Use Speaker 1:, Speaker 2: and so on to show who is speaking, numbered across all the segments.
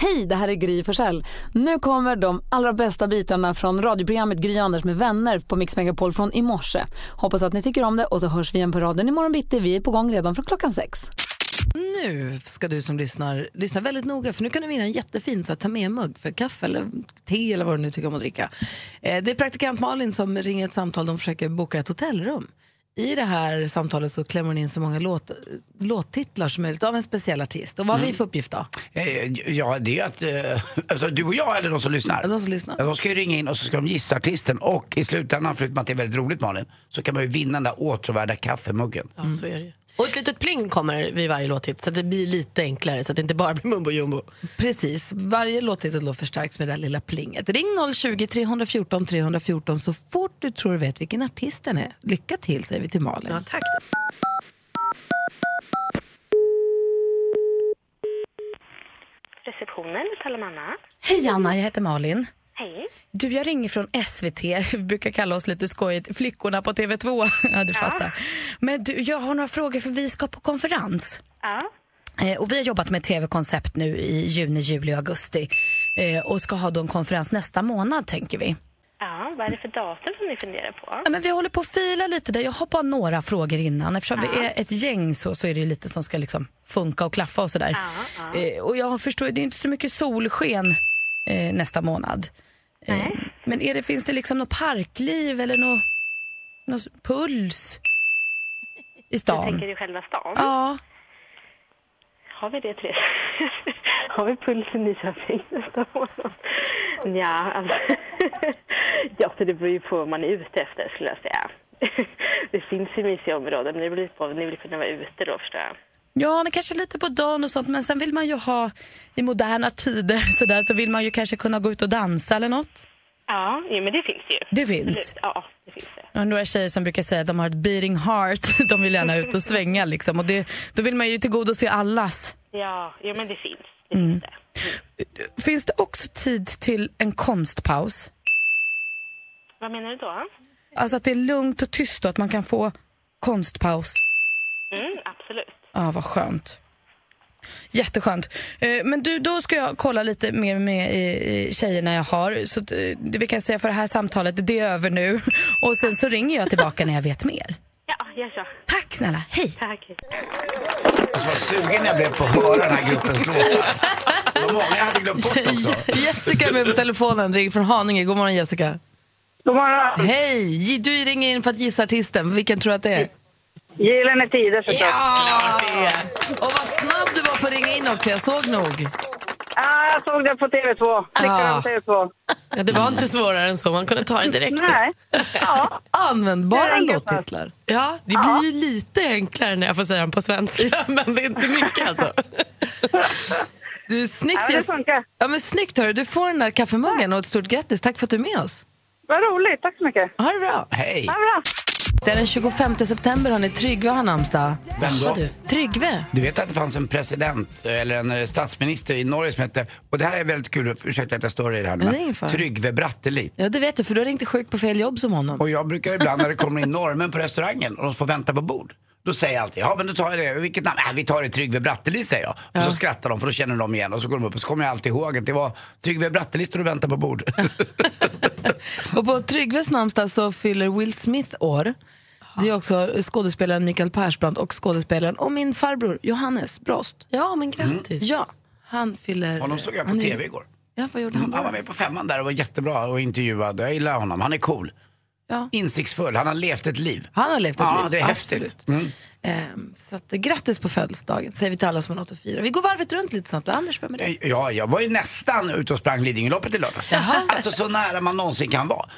Speaker 1: Hej, det här är Gry Forssell. Nu kommer de allra bästa bitarna från radioprogrammet Gry Anders med vänner på Mix Megapol från i morse. Hoppas att ni tycker om det och så hörs vi igen på raden imorgon bitti. Vi är på gång redan från klockan sex.
Speaker 2: Nu ska du som lyssnar lyssna väldigt noga för nu kan du vinna en jättefin så här, ta med-mugg för kaffe eller te eller vad du nu tycker om att dricka. Eh, det är praktikant Malin som ringer ett samtal, de försöker boka ett hotellrum. I det här samtalet så klämmer hon in så många låt, låttitlar som möjligt av en speciell artist. Och vad har
Speaker 1: Mm.
Speaker 2: vi för uppgift då?
Speaker 3: Eh, Ja, det är att eh, alltså, du och jag eller de som lyssnar.
Speaker 4: Alltså-
Speaker 2: De som lyssnar.
Speaker 3: Ja, De ska ju ringa in och så ska de gissa artisten och i slutändan, förutom att det är väldigt roligt Malin, så kan man ju vinna den där åtråvärda kaffemuggen.
Speaker 5: Ja, så är det ju. Och ett litet pling kommer vid varje låthit så att det blir lite enklare så att det inte bara blir mumbo jumbo.
Speaker 2: Precis, varje låttitel då förstärks med det där lilla plinget. Ring 020-314 314 så fort du tror du vet vilken artist den är. Lycka till säger vi till Malin.
Speaker 5: Ja, tack.
Speaker 6: Receptionen, vi talar med Anna.
Speaker 7: Hej Anna, jag heter Malin.
Speaker 6: Hej.
Speaker 7: Du, jag ringer från SVT. Vi brukar kalla oss lite skojigt Flickorna på TV2. Ja, du fattar. Men du, jag har några frågor för vi ska på konferens.
Speaker 6: Ja.
Speaker 7: Eh, och vi har jobbat med TV-koncept nu i juni, juli och augusti. Eh, och ska ha då en konferens nästa månad tänker vi.
Speaker 6: ja, vad är det för datum som ni funderar på?
Speaker 7: Ja, men vi håller på att fila lite där. Jag har bara några frågor innan. Eftersom vi är ett gäng så, så är det ju lite som ska liksom funka och klaffa och sådär. Eh, och jag förstår, det är inte så mycket solsken eh, nästa månad. Eh, men är det, finns det liksom något parkliv eller något, något puls i
Speaker 6: Jag
Speaker 7: stan?
Speaker 6: tänker i själva stan.
Speaker 7: Ja,
Speaker 6: Har vi det, Therese? Har vi puls i Nyköping nästa månad? Nja, alltså. ja, för det beror ju på vad man är ute efter, skulle jag säga. det finns ju mysiga områden, men det beror ju på ni vill kunna vara ute då, förstår jag.
Speaker 7: ja, men kanske lite på dagen och sånt. Men sen vill man ju ha, i moderna tider så, där, så vill man ju kanske kunna gå ut och dansa eller något.
Speaker 6: Ja, jo, men det finns ju.
Speaker 7: Det finns.
Speaker 6: Absolut. Ja, det finns det.
Speaker 7: Jag har några tjejer som brukar säga att de har ett beating heart. De vill gärna ut och svänga liksom. Och det, då vill man ju tillgodose allas.
Speaker 6: Ja, jo, men det finns. Det finns det.
Speaker 7: Finns det också tid till en konstpaus?
Speaker 6: Vad menar du då?
Speaker 7: Alltså att det är lugnt och tyst och att man kan få konstpaus.
Speaker 6: Mm, absolut.
Speaker 7: Ja, ah, vad skönt. Jätteskönt. Eh, Men du, då ska jag kolla lite mer med eh, tjejerna jag har. Så att, eh, det vi kan säga för det här samtalet, det är över nu. Och sen så ringer jag tillbaka när jag vet mer.
Speaker 6: Ja, gör så.
Speaker 7: Tack snälla, hej!
Speaker 6: Tack.
Speaker 3: Alltså vad sugen jag blev på att höra den här gruppens låtar. Vad många jag hade glömt bort också.
Speaker 2: Jessica är med på telefonen, ring från Haninge. God morgon Jessica.
Speaker 8: God morgon!
Speaker 2: Hej! Du ringer in för att gissa artisten. Vilken tror du att det är?
Speaker 8: Gyllene tider såklart. Ja.
Speaker 2: Och vad snabb du var på att ringa in också. Jag såg nog.
Speaker 8: Ah, jag såg det på TV2.
Speaker 2: Ja.
Speaker 8: Ah. TV2.
Speaker 5: Ja, det var inte svårare än så, man kunde ta det direkt.
Speaker 8: Nej. Ja. Det
Speaker 2: Användbara
Speaker 8: är enkelt,
Speaker 2: låttitlar.
Speaker 5: Ja, det blir ju lite enklare när jag får säga den på svenska, men det är inte mycket alltså.
Speaker 2: Du, snyggt,
Speaker 8: Ja, men det
Speaker 2: Jess-
Speaker 8: funkar.
Speaker 2: ja, men snyggt hörru. Du får den där kaffemuggen och ett stort grattis. Tack för att du är med oss.
Speaker 8: Vad roligt, tack så mycket.
Speaker 2: Ha det bra.
Speaker 3: Hej!
Speaker 8: Ja, bra.
Speaker 2: Det är den 25 september, hörni. Tryggve har namnsdag.
Speaker 3: Vem då?
Speaker 2: Tryggve?
Speaker 3: Du vet att det fanns en president, eller en eh, statsminister i Norge som hette, och det här är väldigt kul, ursäkta att jag stör er här nu,
Speaker 2: Men det är ingen fara.
Speaker 3: Tryggve Bratteli.
Speaker 2: Ja, det vet du, för du har ringt sjuk på fel jobb som honom.
Speaker 3: Och jag brukar ibland när det kommer in norrmän på restaurangen och de får vänta på bord. Då säger jag alltid, ja men då tar jag det, vilket namn? Äh, vi tar det Tryggve Bratteli säger jag. Och så skrattar de för då känner de igen och så går de upp och så kommer jag alltid ihåg att det var Tryggve Bratteli står och väntar på bord.
Speaker 2: Och på Tryggves namnsdag så fyller Will Smith år. Det är också skådespelaren Mikael Persbrandt och skådespelaren och min farbror Johannes Brost. Mm.
Speaker 5: Ja, men grattis.
Speaker 2: Ja, han fyller...
Speaker 3: Honom såg jag på
Speaker 2: han är-
Speaker 3: TV igår.
Speaker 2: Ja, vad gjorde han?
Speaker 3: Mm, Han var
Speaker 2: då?
Speaker 3: med på femman där och var jättebra och intervjuad. Jag gillar honom, han är cool.
Speaker 2: Ja.
Speaker 3: Insiktsfull, han har levt ett liv.
Speaker 2: Han har levt ett
Speaker 3: ja,
Speaker 2: liv.
Speaker 3: det är
Speaker 2: Absolut.
Speaker 3: häftigt. Mm.
Speaker 2: Ehm, så att, eh, grattis på födelsedagen, säger vi till alla som har något att fira. Vi går varvet runt lite snabbt. Anders, börjar med dig.
Speaker 3: Eh, Ja, jag var ju nästan ute och sprang Lidingöloppet i lördags. Alltså så nära man någonsin kan vara.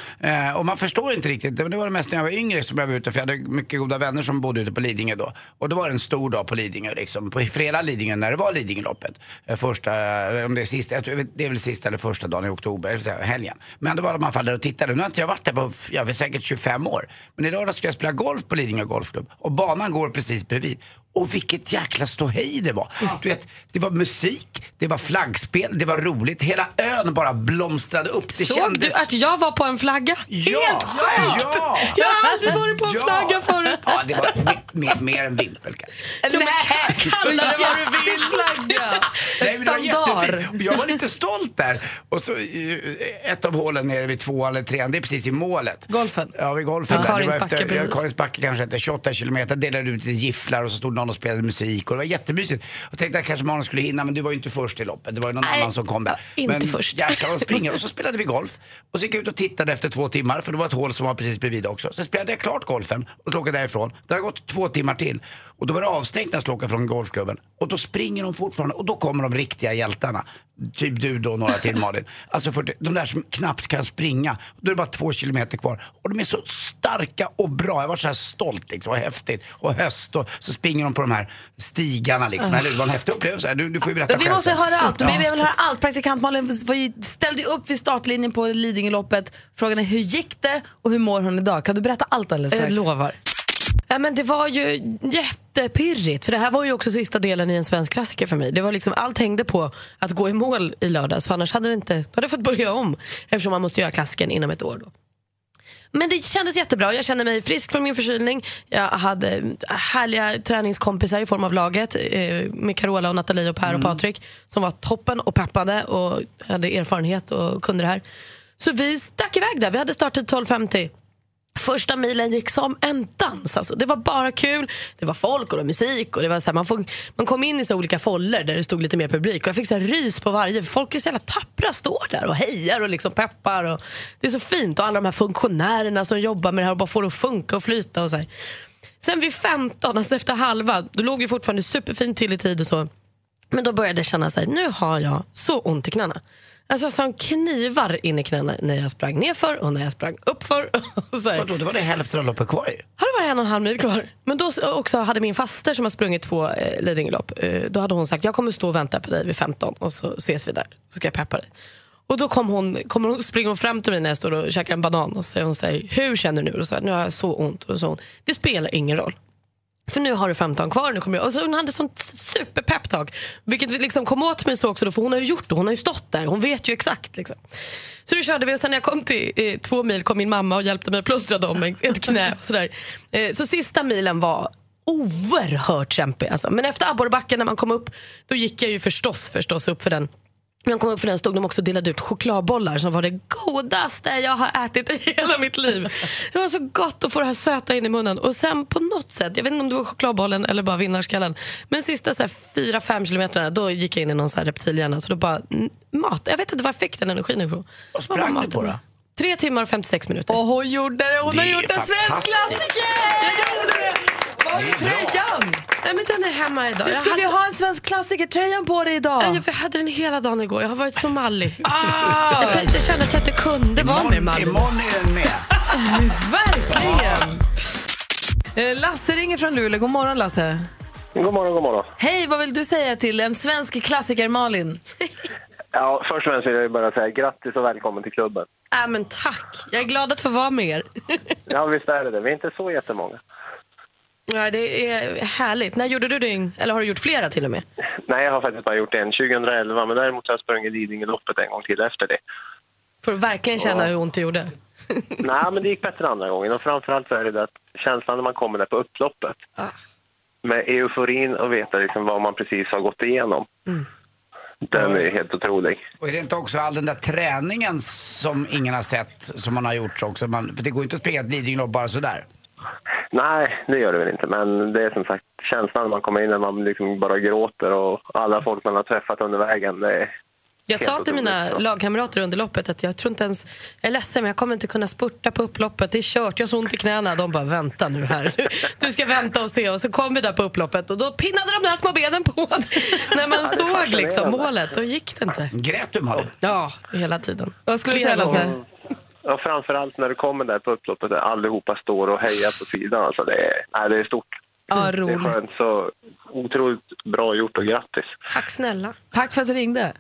Speaker 3: Eh, och man förstår inte riktigt, men det var det mest när jag var yngre som jag var ute, för jag hade mycket goda vänner som bodde ute på Lidingö då. Och då var det en stor dag på Lidingö, liksom, på fredag Lidingö när det var Lidingöloppet. Eh, första, eller om det är sista, jag tror, jag vet- det är väl sista eller första dagen i oktober, eller så här, helgen. Men det var de man fall där och tittade. Nu har inte jag varit där på, jag vet säkert 25 år. Men i lördags skulle jag spela golf på Lidingö Golfklubb och banan går precis bredvid. Och vilket jäkla ståhej det var. Du vet, det var musik, det var flaggspel, det var roligt. Hela ön bara blomstrade upp. Det
Speaker 7: Såg
Speaker 3: kändes...
Speaker 7: du att jag var på en flagga?
Speaker 3: Ja,
Speaker 7: Helt sjukt!
Speaker 3: ja.
Speaker 7: Jag har aldrig varit på en
Speaker 3: Ja.
Speaker 7: flagga förut.
Speaker 3: Ja, det var mer, mer, mer än vimpel kanske.
Speaker 7: Nej, kalla det vad du vill. flagga.
Speaker 3: Nej, men det var
Speaker 7: standard.
Speaker 3: jättefint. Och Jag var lite stolt där. Och så eh, ett av hålen nere vid två eller trean, det är precis i målet.
Speaker 7: Golfen.
Speaker 3: Ja, vid golfen.
Speaker 7: Ja,
Speaker 3: där. Det var
Speaker 7: Karins
Speaker 3: efter-
Speaker 7: backe,
Speaker 3: ja,
Speaker 7: precis.
Speaker 3: Karins backe kanske hette, 28 kilometer, delade ut lite gifflar och så stod någon och spelade musik och det var jättemysigt. Jag tänkte att kanske Malin skulle hinna men du var ju inte först i loppet, det var ju någon
Speaker 7: Nej,
Speaker 3: annan som kom där.
Speaker 7: inte
Speaker 3: men,
Speaker 7: först.
Speaker 3: Jäklar, de springer. Och så spelade vi golf. Och så gick jag ut och tittade efter två timmar, för det var ett hål som var precis bredvid också. Så spelade jag klart golfen och skulle åka därifrån. Det har gått två timmar till. Och då var det avstängt när jag skulle åka från golfklubben. Och då springer de fortfarande och då kommer de riktiga hjältarna. Typ du då och några till Malin. Alltså 40, de där som knappt kan springa. Då är det bara två kilometer kvar. Och de är så starka och bra. Jag var så här stolt liksom, och häftigt. Och höst och så springer de på de här stigarna liksom. Eller hur? det var en häftig upplevelse. Du, du får ju berätta
Speaker 7: Men Ah. vi
Speaker 3: själv
Speaker 7: måste
Speaker 3: sen.
Speaker 7: höra allt.
Speaker 3: Ja.
Speaker 7: Vi vill höra allt. Praktikant Malin var ju- ställde ju upp vid startlinjen på Lidingöloppet. Frågan är hur gick det och hur mår hon idag? Kan du berätta allt alldeles strax?
Speaker 9: Jag lovar.
Speaker 7: Ja, men det var ju jättepirrigt, för det här var ju också sista delen i en svensk klassiker för mig. Det var liksom, allt hängde på att gå i mål i lördags, för annars hade det inte, då hade jag fått börja om eftersom man måste göra klassiken inom ett år. Då. Men det kändes jättebra. Jag kände mig frisk från min förkylning. Jag hade eh, härliga träningskompisar i form av laget eh, med Carola, och Nathalie, och Per och Patrik som var toppen och peppade och hade erfarenhet och kunde det här. Så vi stack iväg där. Vi hade startat 12.50. Första milen gick som en dans. Alltså. Det var bara kul. Det var folk och det var musik. Och det var så här, man, får, man kom in i så här olika foller där det stod lite mer publik. Och jag fick så här rys på varje. för Folk är så jävla tappra. Står där och hejar och liksom peppar. Och det är så fint. Och alla de här funktionärerna som jobbar med det här och bara får det att funka och flyta. Och så här. Sen vid 15, alltså efter halva, då låg vi fortfarande superfint till i tid och så. Men då började jag känna så här, nu har jag så ont i knäna. Alltså jag som knivar in i knäna när jag sprang nerför och när jag sprang uppför. Och så här.
Speaker 3: Vadå, då var det hälften av loppet kvar ju.
Speaker 7: Har det varit en och en halv mil kvar? Men då s- också hade min faster som har sprungit två eh, Lidingölopp, eh, då hade hon sagt jag kommer stå och vänta på dig vid 15 och så ses vi där. Så ska jag peppa dig. Och då kom hon, kommer hon, springer hon fram till mig när jag står och käkar en banan och så säger hon så här, hur känner du nu? Och så här, nu har jag så ont. Och så sa hon, det spelar ingen roll. För nu har du 15 kvar. Nu kommer jag. Och så hon hade sånt superpepptag. Vilket vi liksom kom åt mig så också då, för hon har ju gjort det. Hon har ju stått där. Hon vet ju exakt. Liksom. Så då körde vi och sen när jag kom till eh, två mil kom min mamma och hjälpte mig att plåstra dem med ett knä. Och sådär. Eh, så sista milen var oerhört kämpig. Alltså. Men efter abborrbacken när man kom upp, då gick jag ju förstås, förstås upp för den. När jag kom upp för den stod de också och delade ut chokladbollar som var det godaste jag har ätit i hela mitt liv. Det var så gott att få det här söta in i munnen. Och sen på något sätt, jag vet inte om det var chokladbollen eller bara vinnarskallen, men sista så här fyra fem kilometerna då gick jag in i någon så här reptilhjärna. Så då bara, mm, mat. Jag vet inte var jag fick den energin ifrån.
Speaker 3: Vad
Speaker 7: Det var
Speaker 3: sprang
Speaker 7: bara
Speaker 3: du på
Speaker 7: maten.
Speaker 3: då?
Speaker 7: Tre timmar och 56 minuter.
Speaker 9: Och hon gjorde det. Hon
Speaker 3: Det
Speaker 9: har
Speaker 3: är
Speaker 9: gjort en svensk
Speaker 3: fantastiskt.
Speaker 9: klassiker!
Speaker 7: Var är tröjan? Nej, men den är hemma idag.
Speaker 9: Du
Speaker 7: Jag
Speaker 9: skulle ju
Speaker 7: hade-
Speaker 9: ha en svensk klassiker-tröjan på dig idag.
Speaker 7: Nej, Jag hade den hela dagen igår. Jag har varit så mallig.
Speaker 9: Ah,
Speaker 7: Jag, t- jag kände att jag inte kunde vara mer
Speaker 3: Imorgon,
Speaker 7: mallig.
Speaker 3: imorgon är den med.
Speaker 9: verkligen! Eh, Lasse ringer från Luleå. God morgon, Lasse.
Speaker 10: God morgon, god morgon.
Speaker 9: Hej, vad vill du säga till en svensk klassiker, Malin?
Speaker 10: Ja, först och främst vill jag ju bara säga grattis och välkommen till klubben.
Speaker 7: Äh, men tack. Jag är glad att få vara med er.
Speaker 10: Ja, visst är det det. Vi är inte så jättemånga.
Speaker 7: ja, det är härligt. När gjorde du din? Eller har du gjort flera till och med?
Speaker 10: Nej, jag har faktiskt bara gjort en 2011, men däremot har jag sprungit Lidingöloppet en gång till efter det.
Speaker 7: För att verkligen känna hur ont det gjorde.
Speaker 10: Nej, men det gick bättre andra gången och framförallt så är det det att känslan när man kommer där på upploppet
Speaker 7: Ah.
Speaker 10: med euforin och veta liksom vad man precis har gått igenom.
Speaker 7: Mm.
Speaker 10: Den är helt otrolig.
Speaker 3: Och är det inte också all den där träningen som ingen har sett som man har gjort också? Man, för det går ju inte att springa ett Lidingölopp bara sådär.
Speaker 10: Nej, det gör det väl inte, men det är som sagt känslan när man kommer in när man liksom bara gråter och alla folk man har träffat under vägen. Det är
Speaker 7: Jag
Speaker 10: Helt
Speaker 7: sa till mina
Speaker 10: otroligt bra.
Speaker 7: lagkamrater under loppet att jag tror inte ens... Jag är ledsen, men jag kommer inte kunna spurta på upploppet. Det är kört, jag har så ont i knäna. De bara, vänta nu här. Du ska vänta och se. Och så kom vi där på upploppet och då pinnade de där små benen på en när man
Speaker 10: det är
Speaker 7: såg liksom
Speaker 10: fascinerande.
Speaker 7: målet. Då gick det inte.
Speaker 3: Grät du Malin?
Speaker 7: Ja, hela tiden.
Speaker 9: Vad skulle du
Speaker 7: Flera
Speaker 9: säga, Lasse?
Speaker 7: gånger.
Speaker 10: Ja, framförallt när du kommer där på upploppet där allihopa står och hejar på sidan. Alltså det, är, nej, det är stort.
Speaker 9: Ja,
Speaker 10: Det är
Speaker 9: roligt.
Speaker 10: skönt. Så otroligt bra gjort och grattis.
Speaker 7: Tack snälla.
Speaker 9: Tack för att du ringde.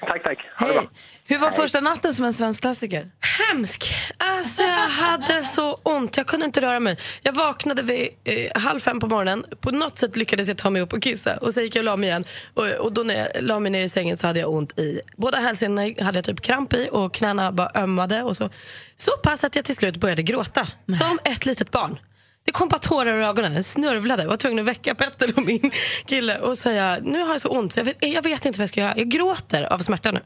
Speaker 10: Tack, tack. Ha
Speaker 2: Hej.
Speaker 10: det bra.
Speaker 2: Hur var
Speaker 10: Hej.
Speaker 2: första natten som en svensk klassiker?
Speaker 7: Hemsk! Alltså jag hade så ont, jag kunde inte röra mig. Jag vaknade vid eh, halv fem på morgonen, på något sätt lyckades jag ta mig upp och kissa och sen gick jag och la mig igen. Och, och då när jag la mig ner i sängen så hade jag ont i, båda hälsenorna hade jag typ kramp i och knäna bara ömmade och så. Så pass att jag till slut började gråta, som ett litet barn. Det kom bara tårar ur ögonen, jag snörvlade och var tvungen att väcka Petter och min kille och säga nu har jag så ont så jag vet, jag vet inte vad jag ska göra. Jag gråter av smärta nu.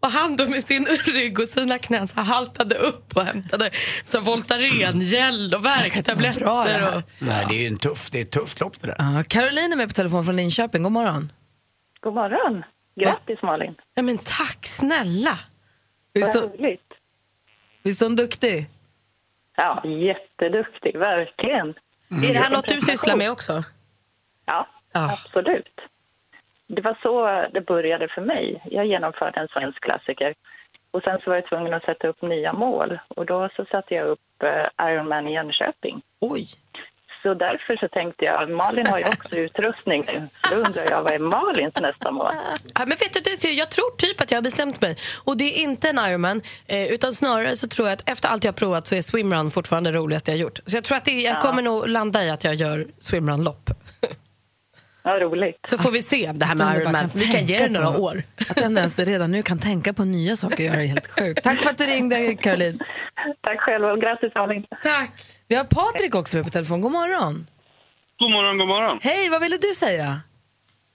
Speaker 7: Och han då med sin rygg och sina knän så haltade upp och hämtade så här Voltaren, gel och värktabletter. Och...
Speaker 3: Nej, det är ju en tuff, det är ett tufft lopp det där.
Speaker 2: Ja, Caroline är med på telefon från Linköping. God morgon.
Speaker 11: God morgon. Grattis, Malin.
Speaker 7: Ja, men tack snälla.
Speaker 2: Visst
Speaker 11: Vad
Speaker 2: hon-
Speaker 11: roligt.
Speaker 2: Visst är hon duktig?
Speaker 11: Ja, jätteduktig, verkligen.
Speaker 7: Är det här något du sysslar med också?
Speaker 11: Ja,
Speaker 2: Ah.
Speaker 11: absolut. Det var så det började för mig. Jag genomförde en svensk klassiker. Och sen så var jag tvungen att sätta upp nya mål. Och då så satte jag upp eh, Ironman i Jönköping.
Speaker 2: Oj!
Speaker 11: Så därför så tänkte jag, Malin har ju också utrustning nu. Så Då undrar jag, vad är Malins nästa mål?
Speaker 7: Ja, men vet du, det är- jag tror typ att jag har bestämt mig. Och det är inte en Ironman. Eh, utan snarare så tror jag att efter allt jag har provat så är swimrun fortfarande det roligaste jag har gjort. Så jag tror att det, jag kommer nog landa i att jag gör swimrun-lopp.
Speaker 11: Vad roligt.
Speaker 7: Så får vi se det här
Speaker 2: Att
Speaker 7: med
Speaker 2: du bara
Speaker 7: Ironman.
Speaker 2: kan
Speaker 7: Vi kan ge det
Speaker 2: tänka
Speaker 7: några
Speaker 2: på-
Speaker 7: år.
Speaker 2: Att du ändå ens redan nu kan tänka på nya saker jag är helt sjukt. Tack för att du ringde, Caroline.
Speaker 11: Tack själv och grattis Malin.
Speaker 7: Tack.
Speaker 2: Vi har Patrik också med på telefon. God morgon.
Speaker 12: God morgon, god morgon.
Speaker 2: Hej, vad ville du säga?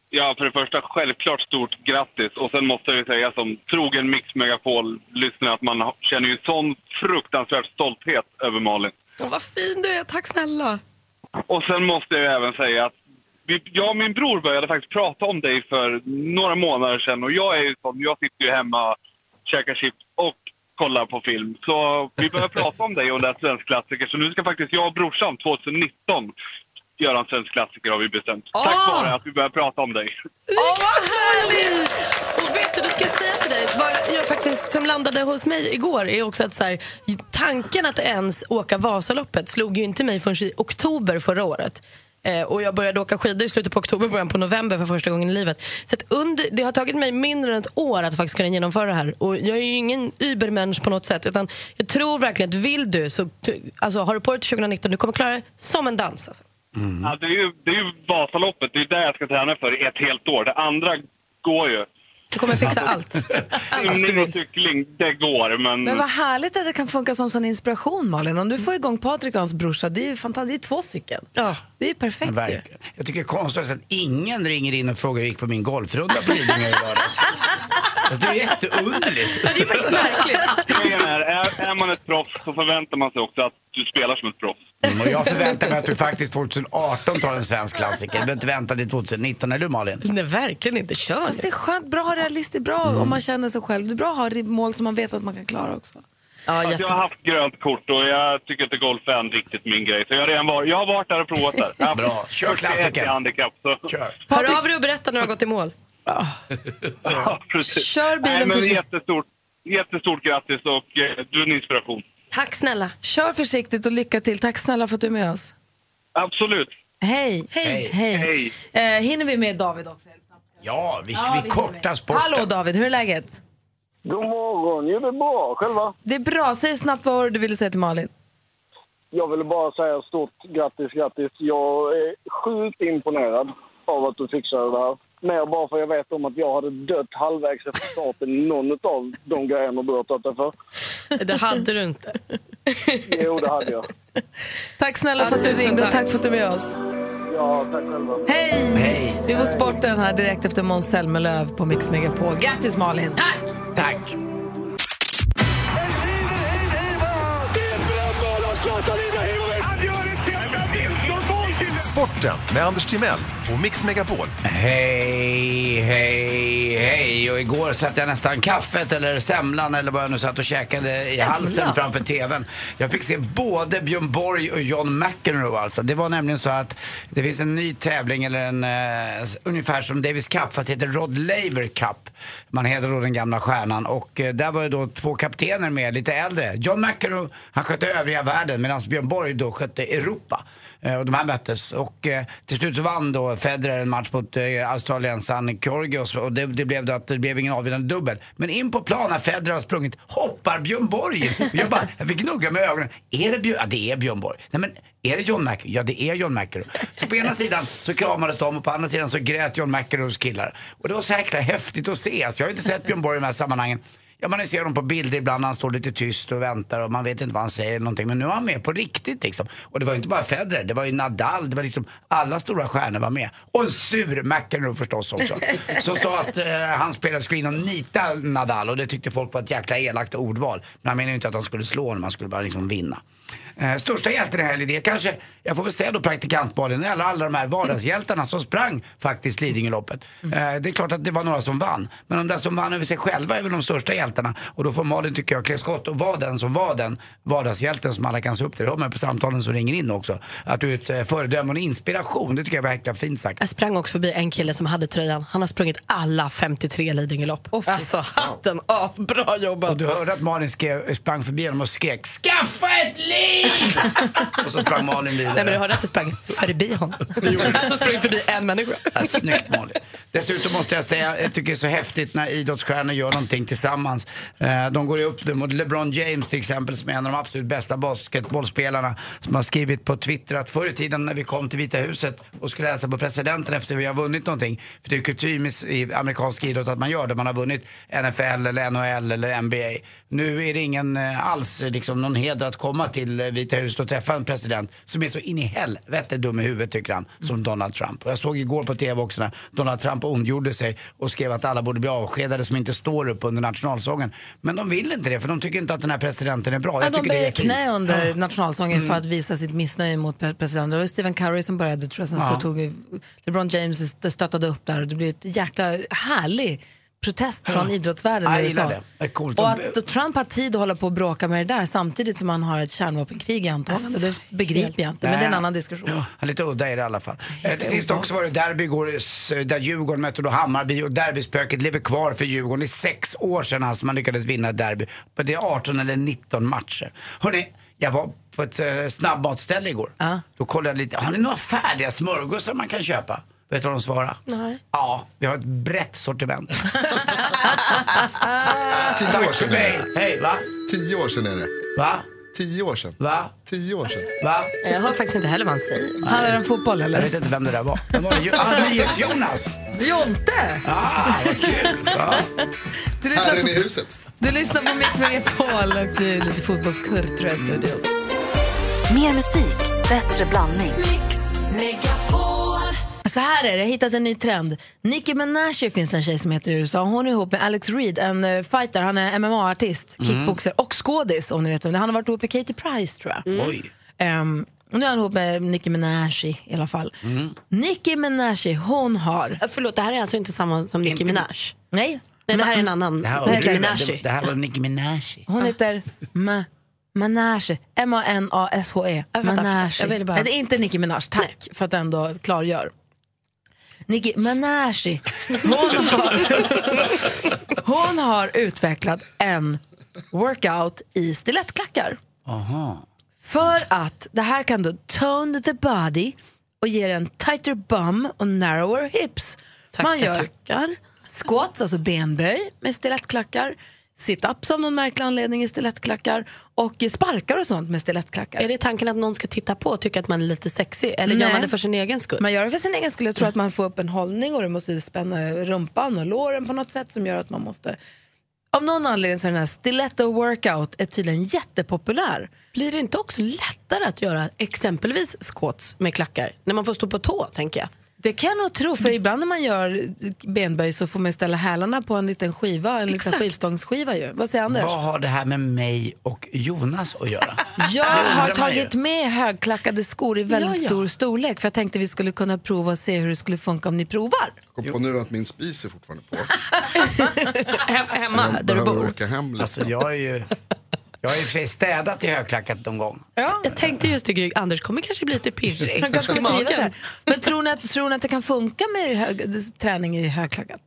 Speaker 12: Ja, för det första, självklart stort grattis. Och sen måste jag ju säga som trogen Mix Megapol-lyssnare att man har- känner ju sån fruktansvärd stolthet över Malin.
Speaker 7: Åh, vad fin du är. Tack snälla.
Speaker 12: Och sen måste jag ju även säga att vi, jag och min bror började faktiskt prata om dig för några månader sedan. Och jag är ju sån, jag sitter ju hemma, käkar chips och kollar på film. Så vi började prata om dig och den här svensk klassiker. Så nu ska faktiskt jag och brorsan 2019 göra en svensk klassiker har vi bestämt. Tack
Speaker 7: Åh!
Speaker 12: vare att vi började prata om dig.
Speaker 7: Åh, vad härligt! Och vet du, du ska jag säga till dig, vad jag faktiskt, som landade hos mig igår är också att så här, tanken att ens åka Vasaloppet slog ju inte mig förrän i oktober förra året. Eh, och jag började åka skidor i slutet på oktober, början på november för första gången i livet. Så att under, det har tagit mig mindre än ett år att faktiskt kunna genomföra det här. Och jag är ju ingen übermensch på något sätt, utan jag tror verkligen att vill du, så t- alltså, har du på dig till 2019, du kommer klara det som en dans. Alltså.
Speaker 12: Ja, det, är ju, det är ju Vasaloppet, det är ju där jag ska träna för i ett helt år. Det andra går ju.
Speaker 7: Du kommer fixa allt.
Speaker 12: Simning och cykling, det går, men...
Speaker 7: Mm.
Speaker 2: Men vad härligt att det kan funka som sån inspiration, Malin. Om du får igång Patrik och hans brorsa, det är ju fantastiskt. Det är två stycken. Ja. Det är ju perfekt ju.
Speaker 3: Verkligen. Jag tycker det är konstigt att ingen ringer in och frågar hur det gick på min golfrunda på Lidingö i lördags. Alltså, det är jätteunderligt.
Speaker 7: Det är faktiskt märkligt.
Speaker 12: Grejen är, är, är man ett proffs så förväntar man sig också att du spelar som ett proffs.
Speaker 3: Mm, och jag förväntar mig att du faktiskt 2018 tar en svensk klassiker. Du behöver inte vänta till 2019, eller hur Malin?
Speaker 7: Nej, verkligen inte. Kör Mm.
Speaker 2: Fast det är skönt, bra att ha realistiskt, det är bra om man känner sig själv. Det är bra att ha ri- mål som man vet att man kan klara också.
Speaker 12: Alltså, jag har haft grönt kort och jag tycker inte golf är en riktigt min grej. Så jag har, redan varit, jag har varit där och provat där.
Speaker 3: Bra, kör klassiker.
Speaker 12: handikapp, så.
Speaker 3: Kör.
Speaker 7: Hör av dig och berätta när du har gått i mål.
Speaker 12: Ja, precis.
Speaker 2: Kör bilen
Speaker 12: Nej, men
Speaker 2: försiktigt.
Speaker 12: jättestort, jättestort grattis och eh, du är en inspiration.
Speaker 7: Tack snälla.
Speaker 2: Kör försiktigt och lycka till. Tack snälla för att du är med oss.
Speaker 12: Absolut.
Speaker 2: Hej!
Speaker 7: Hej.
Speaker 2: Hej. Eh, hinner vi med David också?
Speaker 3: Ja, vi,
Speaker 2: Ja,
Speaker 3: vi
Speaker 2: hinner
Speaker 3: kortar
Speaker 2: med.
Speaker 3: sporten.
Speaker 2: Hallå David, hur är läget?
Speaker 13: God morgon, jo det är bra. Själva?
Speaker 2: Det är bra. Säg snabbt vad var det du ville säga till Malin.
Speaker 13: Jag ville bara säga stort grattis, grattis. Jag är sjukt imponerad av att du fixade det här. Mer bara för jag vet om att jag hade dött halvvägs efter starten någon av de grejerna du har tagit dig för.
Speaker 7: Det hade du inte.
Speaker 13: Jo, det hade jag.
Speaker 2: Tack snälla för att du
Speaker 7: Tusen
Speaker 2: ringde och
Speaker 7: tack.
Speaker 2: tack för att du är med oss.
Speaker 13: Ja, tack själva.
Speaker 2: Hej! Vi får sporten här direkt efter Måns Zelmerlöw på Mix Megapol. Grattis Malin! Tack!
Speaker 3: Tack!
Speaker 14: Sporten med Anders Timell och Mix Megapol.
Speaker 3: Hej, hej, hej. Och igår satt jag nästan kaffet eller semlan eller vad jag nu satt och käkade i
Speaker 15: Semla?
Speaker 3: halsen framför TVn. Jag fick se både Björn Borg och John McEnroe alltså. Det var nämligen så att det finns en ny tävling eller en eh, s- ungefär som Davis Cup fast det heter Rod Laver Cup. Man heter då den gamla stjärnan och eh, där var ju då två kaptener med, lite äldre. John McEnroe han skötte övriga världen medan Björn Borg då skötte Europa. Eh, och de här möttes. Och eh, till slut så vann då Federer en match mot eh, australiensaren Kyrgios och det, det blev då att det blev ingen avgörande dubbel. Men in på plan när Federer har sprungit hoppar Björn Borg in. Och Jag, bara, jag fick gnugga med ögonen. Är det Björn? Ja, det är Björn Borg. Nej, men är det John McEnroe? Ja, det är John McEnroe. Så på ena sidan så kramades de och på andra sidan så grät John McEnroes killar. Och det var så jäkla häftigt att se. Alltså, jag har ju inte sett Björn Borg i de här sammanhangen. Ja, man ser honom på bilder ibland när han står lite tyst och väntar och man vet inte vad han säger någonting. Men nu var han med på riktigt liksom. Och det var ju inte bara Federer, det var ju Nadal, det var liksom alla stora stjärnor var med. Och en sur McEnroe förstås också. Som sa att eh, han spelade screen och nita Nadal och det tyckte folk var ett jäkla elakt ordval. Men han menade ju inte att han skulle slå honom, han skulle bara liksom vinna. Eh, största hjälten i helgen, det är kanske, jag får väl säga då praktikantbollen, eller alla de här vardagshjältarna som sprang faktiskt Lidingöloppet.
Speaker 7: Mm.
Speaker 3: Eh, det är klart att det var några som vann, men de där som vann över sig själva är väl de största hjältarna. Och då får Malin, tycker jag, klä skott och vara den som var den vardagshjälten som alla kan se upp till. Det hör man ju på samtalen som ringer in också. Att du är ett eh, föredöme och en inspiration, det tycker jag var jäkla fint sagt.
Speaker 7: Jag sprang också förbi en kille som hade tröjan. Han har sprungit alla 53 Lidingölopp. alltså hatten av, bra jobbat.
Speaker 3: Och du hörde att Malin skrev, sprang förbi honom och skrek Skaffa ett liv! och så sprang Malin vidare.
Speaker 7: Nej men du hörde att jag sprang förbi honom. alltså sprang förbi en människa.
Speaker 3: Ja, Äh, snyggt Molly. Dessutom måste jag säga, jag tycker det är så häftigt när idrottsstjärnor gör någonting tillsammans. Eh, De går ju upp det mot LeBron James till exempel som är en av de absolut bästa basketbollspelarna som har skrivit på Twitter att förr i tiden när vi kom till Vita huset och skulle hälsa på presidenten efter vi har vunnit någonting. För det är ju kutym i- i amerikansk idrott att man gör det. Man har vunnit NFL eller NHL eller NBA. Nu är det ingen eh, alls eh, liksom någon heder att komma till eh, Vita huset och träffa en president som är så in i helvete dum i huvudet tycker han,
Speaker 2: Mm.
Speaker 3: som Donald Trump. Och jag såg igår på TV också när Donald Trump ondgjorde sig och skrev att alla borde bli avskedade som inte står upp under nationalsången. Men de vill inte det för de tycker inte att den här presidenten är bra. Jag
Speaker 2: Ja, de
Speaker 3: tycker det
Speaker 2: böjer
Speaker 3: är fint.
Speaker 2: knä under nationalsången
Speaker 3: Mm.
Speaker 2: för att visa sitt missnöje mot pre- presidenten. Det var ju Stephen Curry som började, tror jag, sen
Speaker 3: Ja.
Speaker 2: så tog LeBron James stöttade upp där och det blev ett jäkla härlig protest från
Speaker 3: Ja.
Speaker 2: idrottsvärlden
Speaker 3: Ja,
Speaker 2: i
Speaker 3: jag
Speaker 2: USA.
Speaker 3: gillar det. Det är coolt.
Speaker 2: Och att då Trump har tid att hålla på och bråka med det där samtidigt som han har ett kärnvapenkrig i antagande, det begriper jag inte. Men det är en
Speaker 3: Nej.
Speaker 2: annan diskussion.
Speaker 3: Ja, han är lite udda i det i alla fall. Eh, till sist också var det derby igår s- eh, där Djurgården mötte då Hammarby och derbyspöket lever kvar för Djurgården. Det är sex år sedan alltså man lyckades vinna ett derby. Men det är 18 eller 19 matcher. Hörrni, jag var på ett eh, snabbmatsställe igår. Då kollade jag lite, har ni några färdiga smörgåsar man kan köpa? Vet du vad de svarade?
Speaker 7: Nej.
Speaker 3: Ja, vi har ett brett sortiment. Tio år sedan är det. Hej, va?
Speaker 16: Tio år sedan är det.
Speaker 3: Va?
Speaker 16: Tio år sedan.
Speaker 3: Va?
Speaker 16: Tio år sedan.
Speaker 3: Va?
Speaker 7: Jag hör faktiskt inte heller vad han säger.
Speaker 2: Handlar det om fotboll eller?
Speaker 3: Jag vet inte vem det där var. Vem var det? Jo- Ah, Nyhets-Jonas!
Speaker 2: Jonte!
Speaker 3: Ah, vad kul! Ja.
Speaker 2: Du
Speaker 16: Herren i
Speaker 2: på,
Speaker 16: huset.
Speaker 2: du lyssnar på Mix Megapol och det är lite fotbollskurr tror jag i studion.
Speaker 6: Mer musik, bättre blandning.
Speaker 2: Så här är det, jag har hittat en ny trend. Nicki Minaj finns en tjej som heter i USA. Hon är ihop med Alex Reed, en eh, fighter. Han är MMA-artist,
Speaker 7: Mm.
Speaker 2: kickboxer och skådis om ni vet vem det är. Han har varit ihop med Katy Price tror jag.
Speaker 3: Oj.
Speaker 2: Ehm, och nu är han ihop med Nicki Minaj i alla fall. Nicki Minaj, hon har...
Speaker 7: Förlåt, det här är alltså inte samma som Nicki Minaj?
Speaker 2: Nej.
Speaker 7: Nej, det här är en annan.
Speaker 2: Det här var Det här är Nicki Minaj.
Speaker 3: Det, det här var Nicki Minaj.
Speaker 2: Hon heter Ma Manache. M-A-N-A-S-H-E.
Speaker 7: Jag fattar,
Speaker 2: Manache.
Speaker 7: jag ville bara-
Speaker 2: E. Nej, det är inte Nicki Minaj, tack för att du ändå klargör. Nicki Minaj, hon har, hon har utvecklat en workout i stilettklackar.
Speaker 3: Aha.
Speaker 2: För att det här kan då tone the body och ger en tighter bum och narrower hips. Man
Speaker 7: Tackar,
Speaker 2: gör squats, alltså benböj med stilettklackar, sit-ups av någon märklig anledning i stilettklackar och sparkar och sånt med stilettklackar.
Speaker 7: Är det tanken att någon ska titta på och tycka att man är lite sexig? Eller gör
Speaker 2: Nej.
Speaker 7: man det för sin egen skull?
Speaker 2: Man gör det för sin egen skull. Jag tror att man får upp en hållning och det måste ju spänna rumpan och låren på något sätt som gör att man måste... Av någon anledning så är den här stiletto workout är tydligen jättepopulär.
Speaker 7: Blir det inte också lättare att göra exempelvis squats med klackar? När man får stå på tå, tänker jag.
Speaker 2: Det kan jag nog tro, för ibland när man gör benböj så får man ju ställa hälarna på en liten skiva, en liten skivstångsskiva ju. Vad säger Anders?
Speaker 3: Vad har det här med mig och Jonas att göra?
Speaker 2: Jag
Speaker 3: Det undrar
Speaker 2: har
Speaker 3: man
Speaker 2: tagit
Speaker 3: ju.
Speaker 2: med högklackade skor i väldigt
Speaker 7: Ja, ja.
Speaker 2: stor storlek för jag tänkte vi skulle kunna prova och se hur det skulle funka om ni provar.
Speaker 16: Kom på nu att min spis är fortfarande på.
Speaker 2: hemma
Speaker 16: jag
Speaker 2: där du
Speaker 16: behöver
Speaker 2: bor.
Speaker 16: åka hem lite.
Speaker 3: Alltså jag är ju... Jag har ju i och för sig städat i högklackat någon gång.
Speaker 7: Jag tänkte just det, Gry. Anders kommer kanske bli lite pirrig.
Speaker 2: Han kanske
Speaker 7: i
Speaker 2: kommer
Speaker 7: magen.
Speaker 2: trivas här. Men tror ni, att, tror ni att det kan funka med hög, träning i högklackat?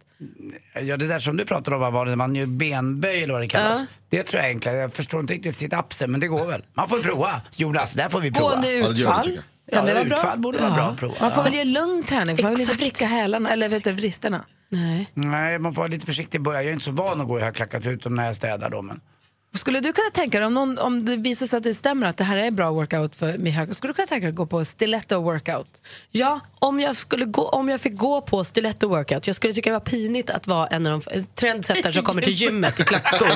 Speaker 3: Ja, det där som du pratade om, vad var det? Man gör benböj eller vad det kallas.
Speaker 2: Ja.
Speaker 3: Det tror jag är enklare. Jag förstår inte riktigt sitt apsen, men det går väl. Man får prova. Jonas, där får vi prova.
Speaker 2: Gående utfall,
Speaker 3: Ja, utfall borde vara bra att prova.
Speaker 2: Man får väl ge lugn träning, för man vill inte
Speaker 3: Exakt.
Speaker 2: vricka hälarna, eller vet du, vristerna.
Speaker 7: Nej.
Speaker 3: Nej, man får vara lite försiktig i början. Jag är inte så van att gå i högklackat förutom när jag städar då. Men...
Speaker 2: Skulle du kunna tänka dig, om, någon, om det visar sig att det stämmer att det här är bra workout för mig, hög- skulle du kunna tänka dig att gå på stiletto workout?
Speaker 7: Ja, om jag, skulle gå, om jag fick gå på stiletto workout, jag skulle tycka det var pinigt att vara en av de en trendsättare som kommer till gymmet i klackskor.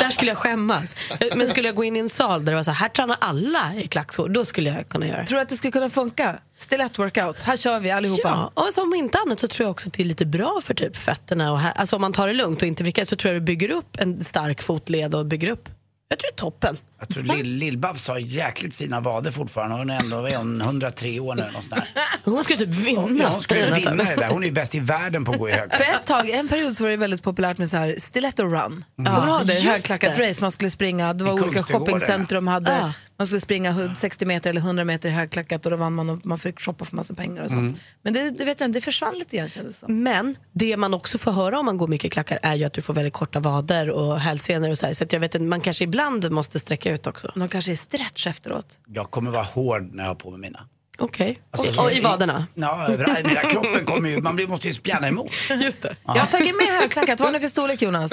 Speaker 7: Där skulle jag skämmas. Men skulle jag gå in i en sal där det var så här, här tränar alla i klackskor, då skulle jag kunna göra det.
Speaker 2: Tror du att det skulle kunna funka? Stilett workout, här kör vi allihopa.
Speaker 7: Ja, och så om inte annat så tror jag också att det är lite bra för typ fötterna. Och här, alltså om man tar det lugnt och inte vrickar så tror jag du bygger upp en stark fotled och bygger upp. Jag tror det är toppen.
Speaker 3: Jag tror Lill- Lill-Babs har jäkligt fina vader fortfarande. Hon är ändå vad är hon, 103 år nu eller något sånt där.
Speaker 7: Hon skulle typ vinna.
Speaker 3: Ja, hon skulle vinna det där. Hon är ju bäst i världen på att gå i högklackat.
Speaker 2: För ett tag, en period så var det väldigt populärt med så här stiletto run.
Speaker 3: Mm. Ja,
Speaker 2: Kommer du ihåg det?
Speaker 3: just
Speaker 2: Högklackat
Speaker 3: det.
Speaker 2: race, man skulle springa, det
Speaker 3: I
Speaker 2: var olika
Speaker 3: Kungsträdgården,
Speaker 2: shoppingcentrum,
Speaker 3: ja.
Speaker 2: hade,
Speaker 3: Ah.
Speaker 2: man skulle springa hu- 60 meter eller 100 meter i högklackat och då vann man och man fick shoppa för massa pengar och sånt.
Speaker 7: Mm.
Speaker 2: Men det, det vet jag inte, det försvann lite grann kändes det som.
Speaker 7: Men det man också får höra om man går mycket i klackar är ju att du får väldigt korta vader och hälsenor och så här. Så att jag vet att man kanske ibland måste sträcka ut också.
Speaker 2: De kanske är stretch efteråt.
Speaker 3: Jag kommer vara hård när jag har på mig mina.
Speaker 7: Okej.
Speaker 3: Alltså,
Speaker 7: och i vaderna?
Speaker 3: Ja, överallt. Hela kroppen kommer ju, man blir- måste ju spjärna emot.
Speaker 7: Just det.
Speaker 2: Jag har tagit med högklackat, vad har ni för storlek Jonas?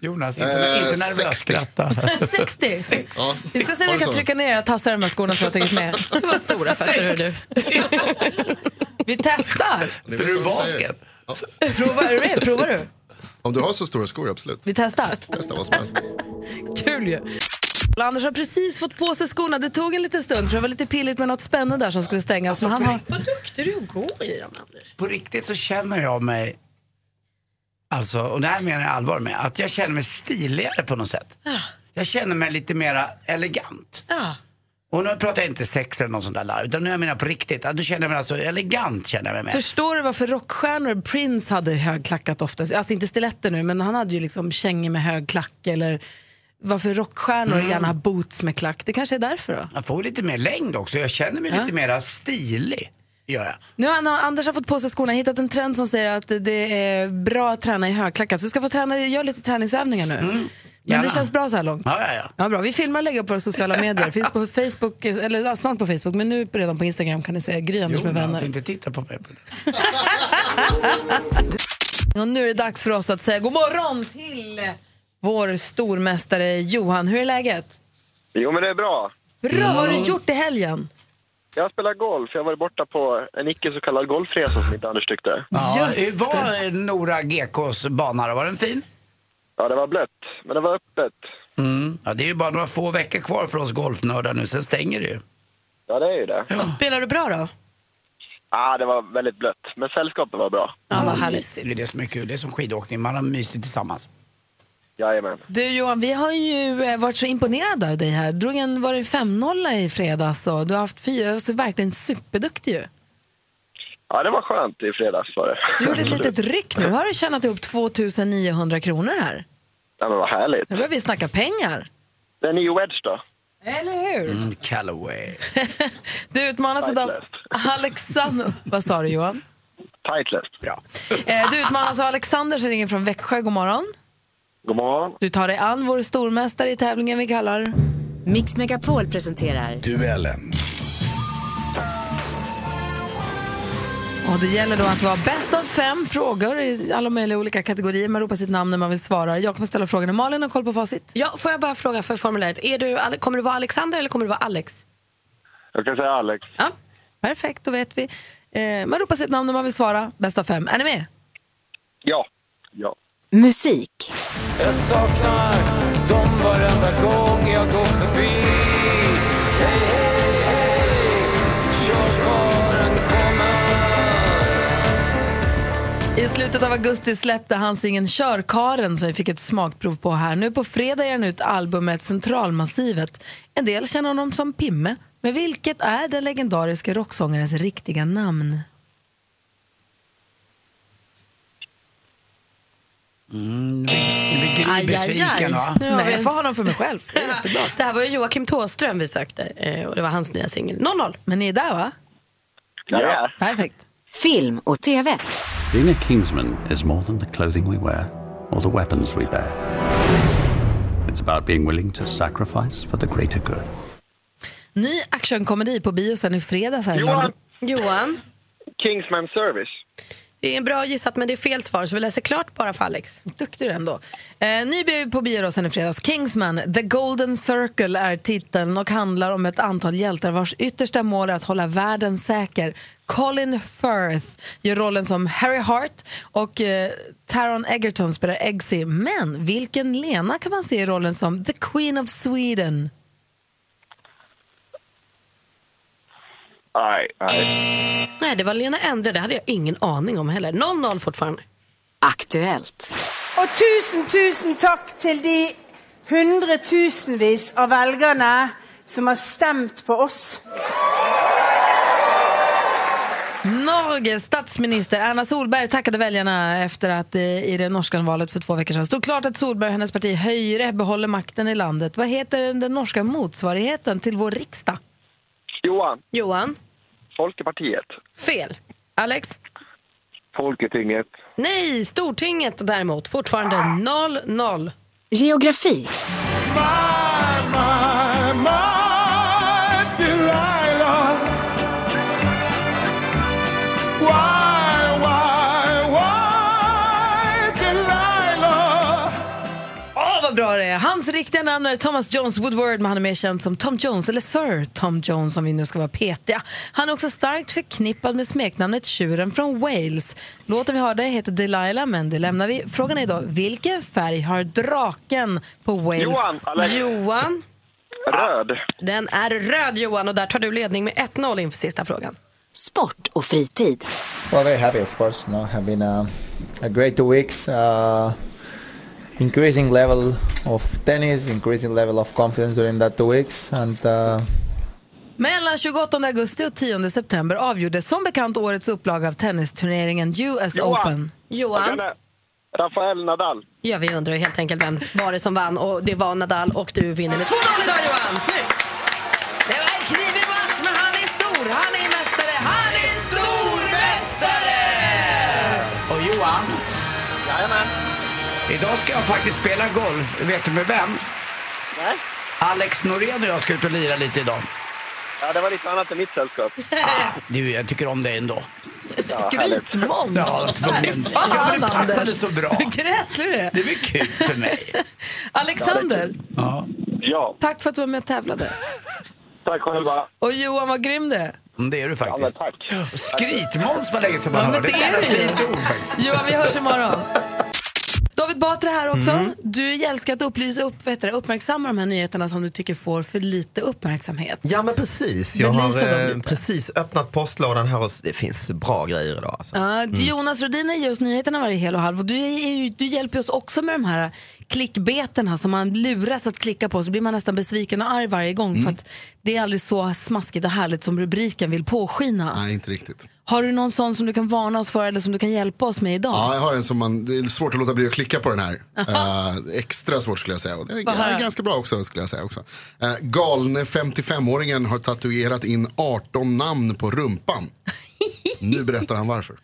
Speaker 3: Jonas, inte,
Speaker 16: Eh,
Speaker 3: inte nervös.
Speaker 16: 60.
Speaker 3: Skratta.
Speaker 2: 60.
Speaker 16: Ja.
Speaker 2: Vi ska se om
Speaker 16: Var
Speaker 2: vi
Speaker 16: det
Speaker 2: kan
Speaker 16: så?
Speaker 2: trycka ner era tassar i de här skorna som jag har tagit med. Det var stora fötter hör du. Vi testar.
Speaker 16: Det är du basket?
Speaker 2: Prova, är du med? Provar
Speaker 3: Mm.
Speaker 2: du?
Speaker 16: Om du har så stora skor, absolut.
Speaker 2: Vi testar.
Speaker 16: Testa vad som helst.
Speaker 2: Kul ju. Anders har precis fått på sig skorna. Det tog en liten stund för det var lite pilligt med något spänne där som skulle stängas. Men han har...
Speaker 7: Vad duktig du är att gå i dem, Anders.
Speaker 3: På riktigt så känner jag mig, alltså, och det här menar jag allvar med, att jag känner mig stiligare på något sätt.
Speaker 7: Ah.
Speaker 3: Jag känner mig lite mera elegant.
Speaker 7: Ja.
Speaker 3: Och nu pratar jag inte sex eller något sånt där larv, utan nu jag menar på riktigt. Att Nu känner jag mig alltså elegant känner jag mig mer.
Speaker 2: Förstår du varför rockstjärnor, Prince hade högklackat oftast, alltså inte stiletter nu, men han hade ju liksom kängor med hög klack eller varför rockstjärnor
Speaker 3: Mm.
Speaker 2: gärna har boots med klack. Det kanske är därför då?
Speaker 3: Jag får lite mer längd också, jag känner mig
Speaker 2: Ja.
Speaker 3: lite mera stilig. Gör jag.
Speaker 2: Nu har han- Anders har fått på sig skorna, hittat en trend som säger att det är bra att träna i högklackat. Så du ska få träna, göra lite träningsövningar nu. Men
Speaker 3: gärna.
Speaker 2: det känns bra så här långt.
Speaker 3: Ja, ja, ja.
Speaker 2: Ja, bra. Vi filmar och lägger upp på våra sociala medier. Finns på Facebook, eller ja, snart på Facebook, men nu redan på Instagram kan ni se Gry Anders med
Speaker 3: Jonas,
Speaker 2: vänner.
Speaker 3: alltså, inte titta på mig på det.
Speaker 2: Och nu är det dags för oss att säga god morgon till vår stormästare Johan. Hur är läget?
Speaker 17: Jo, men det är bra.
Speaker 2: Bra, vad har du gjort i helgen?
Speaker 17: Jag spelar golf. Jag har varit borta på en icke så kallad golfresa som inte Anders tyckte.
Speaker 3: Ja, hur var Nora GKs bana då? Var den fin?
Speaker 17: Ja, det var blött, men det var öppet.
Speaker 3: Mm. Ja, det är ju bara några få veckor kvar för oss golfnördar nu, sen stänger det ju.
Speaker 17: Ja, det är ju det. Ja,
Speaker 7: Spelar du bra då?
Speaker 17: ah, det var väldigt blött, men sällskapet var bra.
Speaker 7: Ja, vad härligt.
Speaker 3: Mm. Det är det som är kul, det är som skidåkning, man har mysigt tillsammans.
Speaker 17: Jajamän.
Speaker 2: Du Johan, vi har ju eh, varit så imponerade av dig här. Drog en, var det 5-0 i fredags och du har haft fyra, så verkligen superduktig ju.
Speaker 17: Ja, det var skönt i fredags var det.
Speaker 2: Du gjorde ett litet ryck nu. Har du tjänat ihop 2900 kronor här?
Speaker 17: Ja, men vad härligt.
Speaker 2: Nu börjar vi snacka pengar.
Speaker 17: Det är ny wedge då.
Speaker 2: Eller hur?
Speaker 3: Mm, Callaway.
Speaker 2: Du utmanas idag av Alexander... Vad sa du Johan?
Speaker 17: Tightlest.
Speaker 3: Bra.
Speaker 2: Eh, Du utmanas av Alexander som ringer från Växjö. God morgon.
Speaker 17: God morgon.
Speaker 2: Du tar dig an vår stormästare i tävlingen vi kallar... Mix Megapol presenterar...
Speaker 18: Duellen.
Speaker 2: Och det gäller då att vara bäst av fem frågor i alla möjliga olika kategorier. Man ropar sitt namn när man vill svara. Jag kommer ställa frågan. Malin har koll på facit.
Speaker 7: Ja, får jag bara fråga för formuläret, är du, Ale- kommer du vara Alexander eller kommer du vara Alex?
Speaker 17: Jag kan säga Alex.
Speaker 7: Ja.
Speaker 2: Perfekt, då vet vi. Eh, man ropar sitt namn när man vill svara. Bäst av fem. Är ni med?
Speaker 17: Ja. Ja.
Speaker 6: Musik.
Speaker 18: Jag saknar dem varenda gång jag går förbi. Hej, hej, hej, körkarlen kommer.
Speaker 2: I slutet av augusti släppte han singeln Körkaren som vi fick ett smakprov på här. Nu på fredag ger han ut albumet Centralmassivet. En del känner honom som Pimme. Men vilket är den legendariska rocksångarens riktiga namn?
Speaker 3: Mm, nu blir- nu blir Gry besviken va?
Speaker 2: Nej, jag får honom för mig själv.
Speaker 7: det här var ju Joakim Thåström vi sökte eh, och det var hans nya singel 00.
Speaker 2: Men ni är där va?
Speaker 17: Ja.
Speaker 2: Perfekt.
Speaker 6: Film och TV.
Speaker 19: Being a Kingsman is more than the clothing we wear or the weapons we bear. It's about being willing to sacrifice for the greater good.
Speaker 2: Ny actionkomedi på bio sen i fredags här i
Speaker 7: Johan.
Speaker 2: London.
Speaker 7: Johan?
Speaker 17: Kingsman Service.
Speaker 7: Det är en bra gissat men det är fel svar så vi läser klart bara för Alex.
Speaker 2: Duktig du är ändå. Eh, ny bio på bio då sen i fredags. Kingsman, The Golden Circle är titeln och handlar om ett antal hjältar vars yttersta mål är att hålla världen säker. Colin Firth gör rollen som Harry Hart och eh, Taron Egerton spelar Eggsy. Men vilken Lena kan man se i rollen som The Queen of Sweden?
Speaker 17: Nej, nej.
Speaker 7: Nej, det var Lena Endre. Det hade jag ingen aning om heller. 0-0 fortfarande.
Speaker 6: Aktuellt.
Speaker 20: Og tusen, tusen takk til de hundretusenvis av velgerne som har stemt på oss.
Speaker 2: Norges statsminister Erna Solberg tackade väljarna efter att eh, i det norska valet för två veckor sedan stod klart att Solberg och hennes parti Höyre behåller makten i landet. Vad heter den norska motsvarigheten till vår riksdag?
Speaker 17: Johan,
Speaker 7: Johan?
Speaker 17: Folkepartiet.
Speaker 7: Fel. Alex?
Speaker 17: Folketinget.
Speaker 7: Nej, Stortinget däremot. Fortfarande 0-0.
Speaker 6: Geografi.
Speaker 18: My, my Delilah. Why, why, why Delilah?
Speaker 2: Åh, vad bra det är! Hans riktiga namn är Thomas Jones Woodward, men han är mer känd som Tom Jones, eller Sir Tom Jones om vi nu ska vara petiga. Han är också starkt förknippad med smeknamnet Tjuren från Wales. Låten vi hörde heter Delilah, men det lämnar vi. Frågan är då, vilken färg har draken på Wales?
Speaker 7: Johan, Alex. Johan?
Speaker 17: Röd.
Speaker 7: Den är röd Johan och där tar du ledning med 1-0 inför sista frågan.
Speaker 6: Sport och fritid.
Speaker 21: Well, very happy, of course. No, have been uh, a great two weeks. Uh, increasing level of tennis, increasing level of confidence during that two weeks, and uh,
Speaker 2: Mellan 28 augusti och 10 september avgjordes som bekant årets upplaga av tennisturneringen US
Speaker 7: Johan.
Speaker 2: Open.
Speaker 7: Johan?
Speaker 17: Rafael Nadal.
Speaker 7: Ja, vi undrar helt enkelt vem var det som vann och det var Nadal och du vinner med 2-0 idag Johan. Snyggt! Det var en knivig match men han är stor, han är mästare, han är stormästare!
Speaker 3: Och Johan? Jajamän. Idag ska jag faktiskt spela golf. Vet du med vem?
Speaker 17: Nej.
Speaker 3: Alex Norén och jag ska ut och lira lite idag. Ah,
Speaker 17: Ja, det var lite annat än mitt sällskap.
Speaker 3: Du, jag tycker om dig ändå.
Speaker 2: Skrytmåns!
Speaker 3: Ja, tvungen.
Speaker 2: Fy
Speaker 3: Ja,
Speaker 2: fan,
Speaker 3: men det passade
Speaker 2: Anders.
Speaker 3: så bra.
Speaker 2: Gräslig du är.
Speaker 3: Det blir kul för mig.
Speaker 2: Alexander,
Speaker 3: Ja. ja.
Speaker 2: tack för att du var med och tävlade.
Speaker 3: Tack själva.
Speaker 2: Och Johan, vad grym du är.
Speaker 3: Det är du faktiskt. Ja, men tack. Skrytmåns var länge sedan man
Speaker 2: Ja, men
Speaker 3: hörde.
Speaker 2: det är
Speaker 3: ett jävla
Speaker 2: det.
Speaker 3: fint ord faktiskt.
Speaker 2: Johan, vi hörs imorgon. David Batra här också.
Speaker 3: Mm.
Speaker 2: Du älskar att upplysa upp, vet du, uppmärksamma de här nyheterna som du tycker får för lite uppmärksamhet.
Speaker 22: Ja men precis, jag har
Speaker 2: Belysa dem
Speaker 22: eh, precis öppnat postlådan här och s- det finns bra grejer idag. Alltså.
Speaker 2: Ja,
Speaker 22: Mm.
Speaker 2: Jonas Rhodiner ger oss nyheterna varje hel och halv och du, är ju, du hjälper oss också med de här klickbetena som man luras att klicka på så blir man nästan besviken och arg varje gång för att det är aldrig så smaskigt och härligt som rubriken vill påskina.
Speaker 23: Nej, inte riktigt.
Speaker 2: Har du någon sån som du kan varna oss för eller som du kan hjälpa oss med idag?
Speaker 23: Ja, jag har en som man, det är svårt att låta bli att klicka på den här. Eh, extra svårt skulle jag säga. Och det är,
Speaker 2: Vad här?
Speaker 23: är ganska bra också skulle jag säga. Också. Eh, galne 55-åringen har tatuerat in 18 namn på rumpan. nu berättar han varför.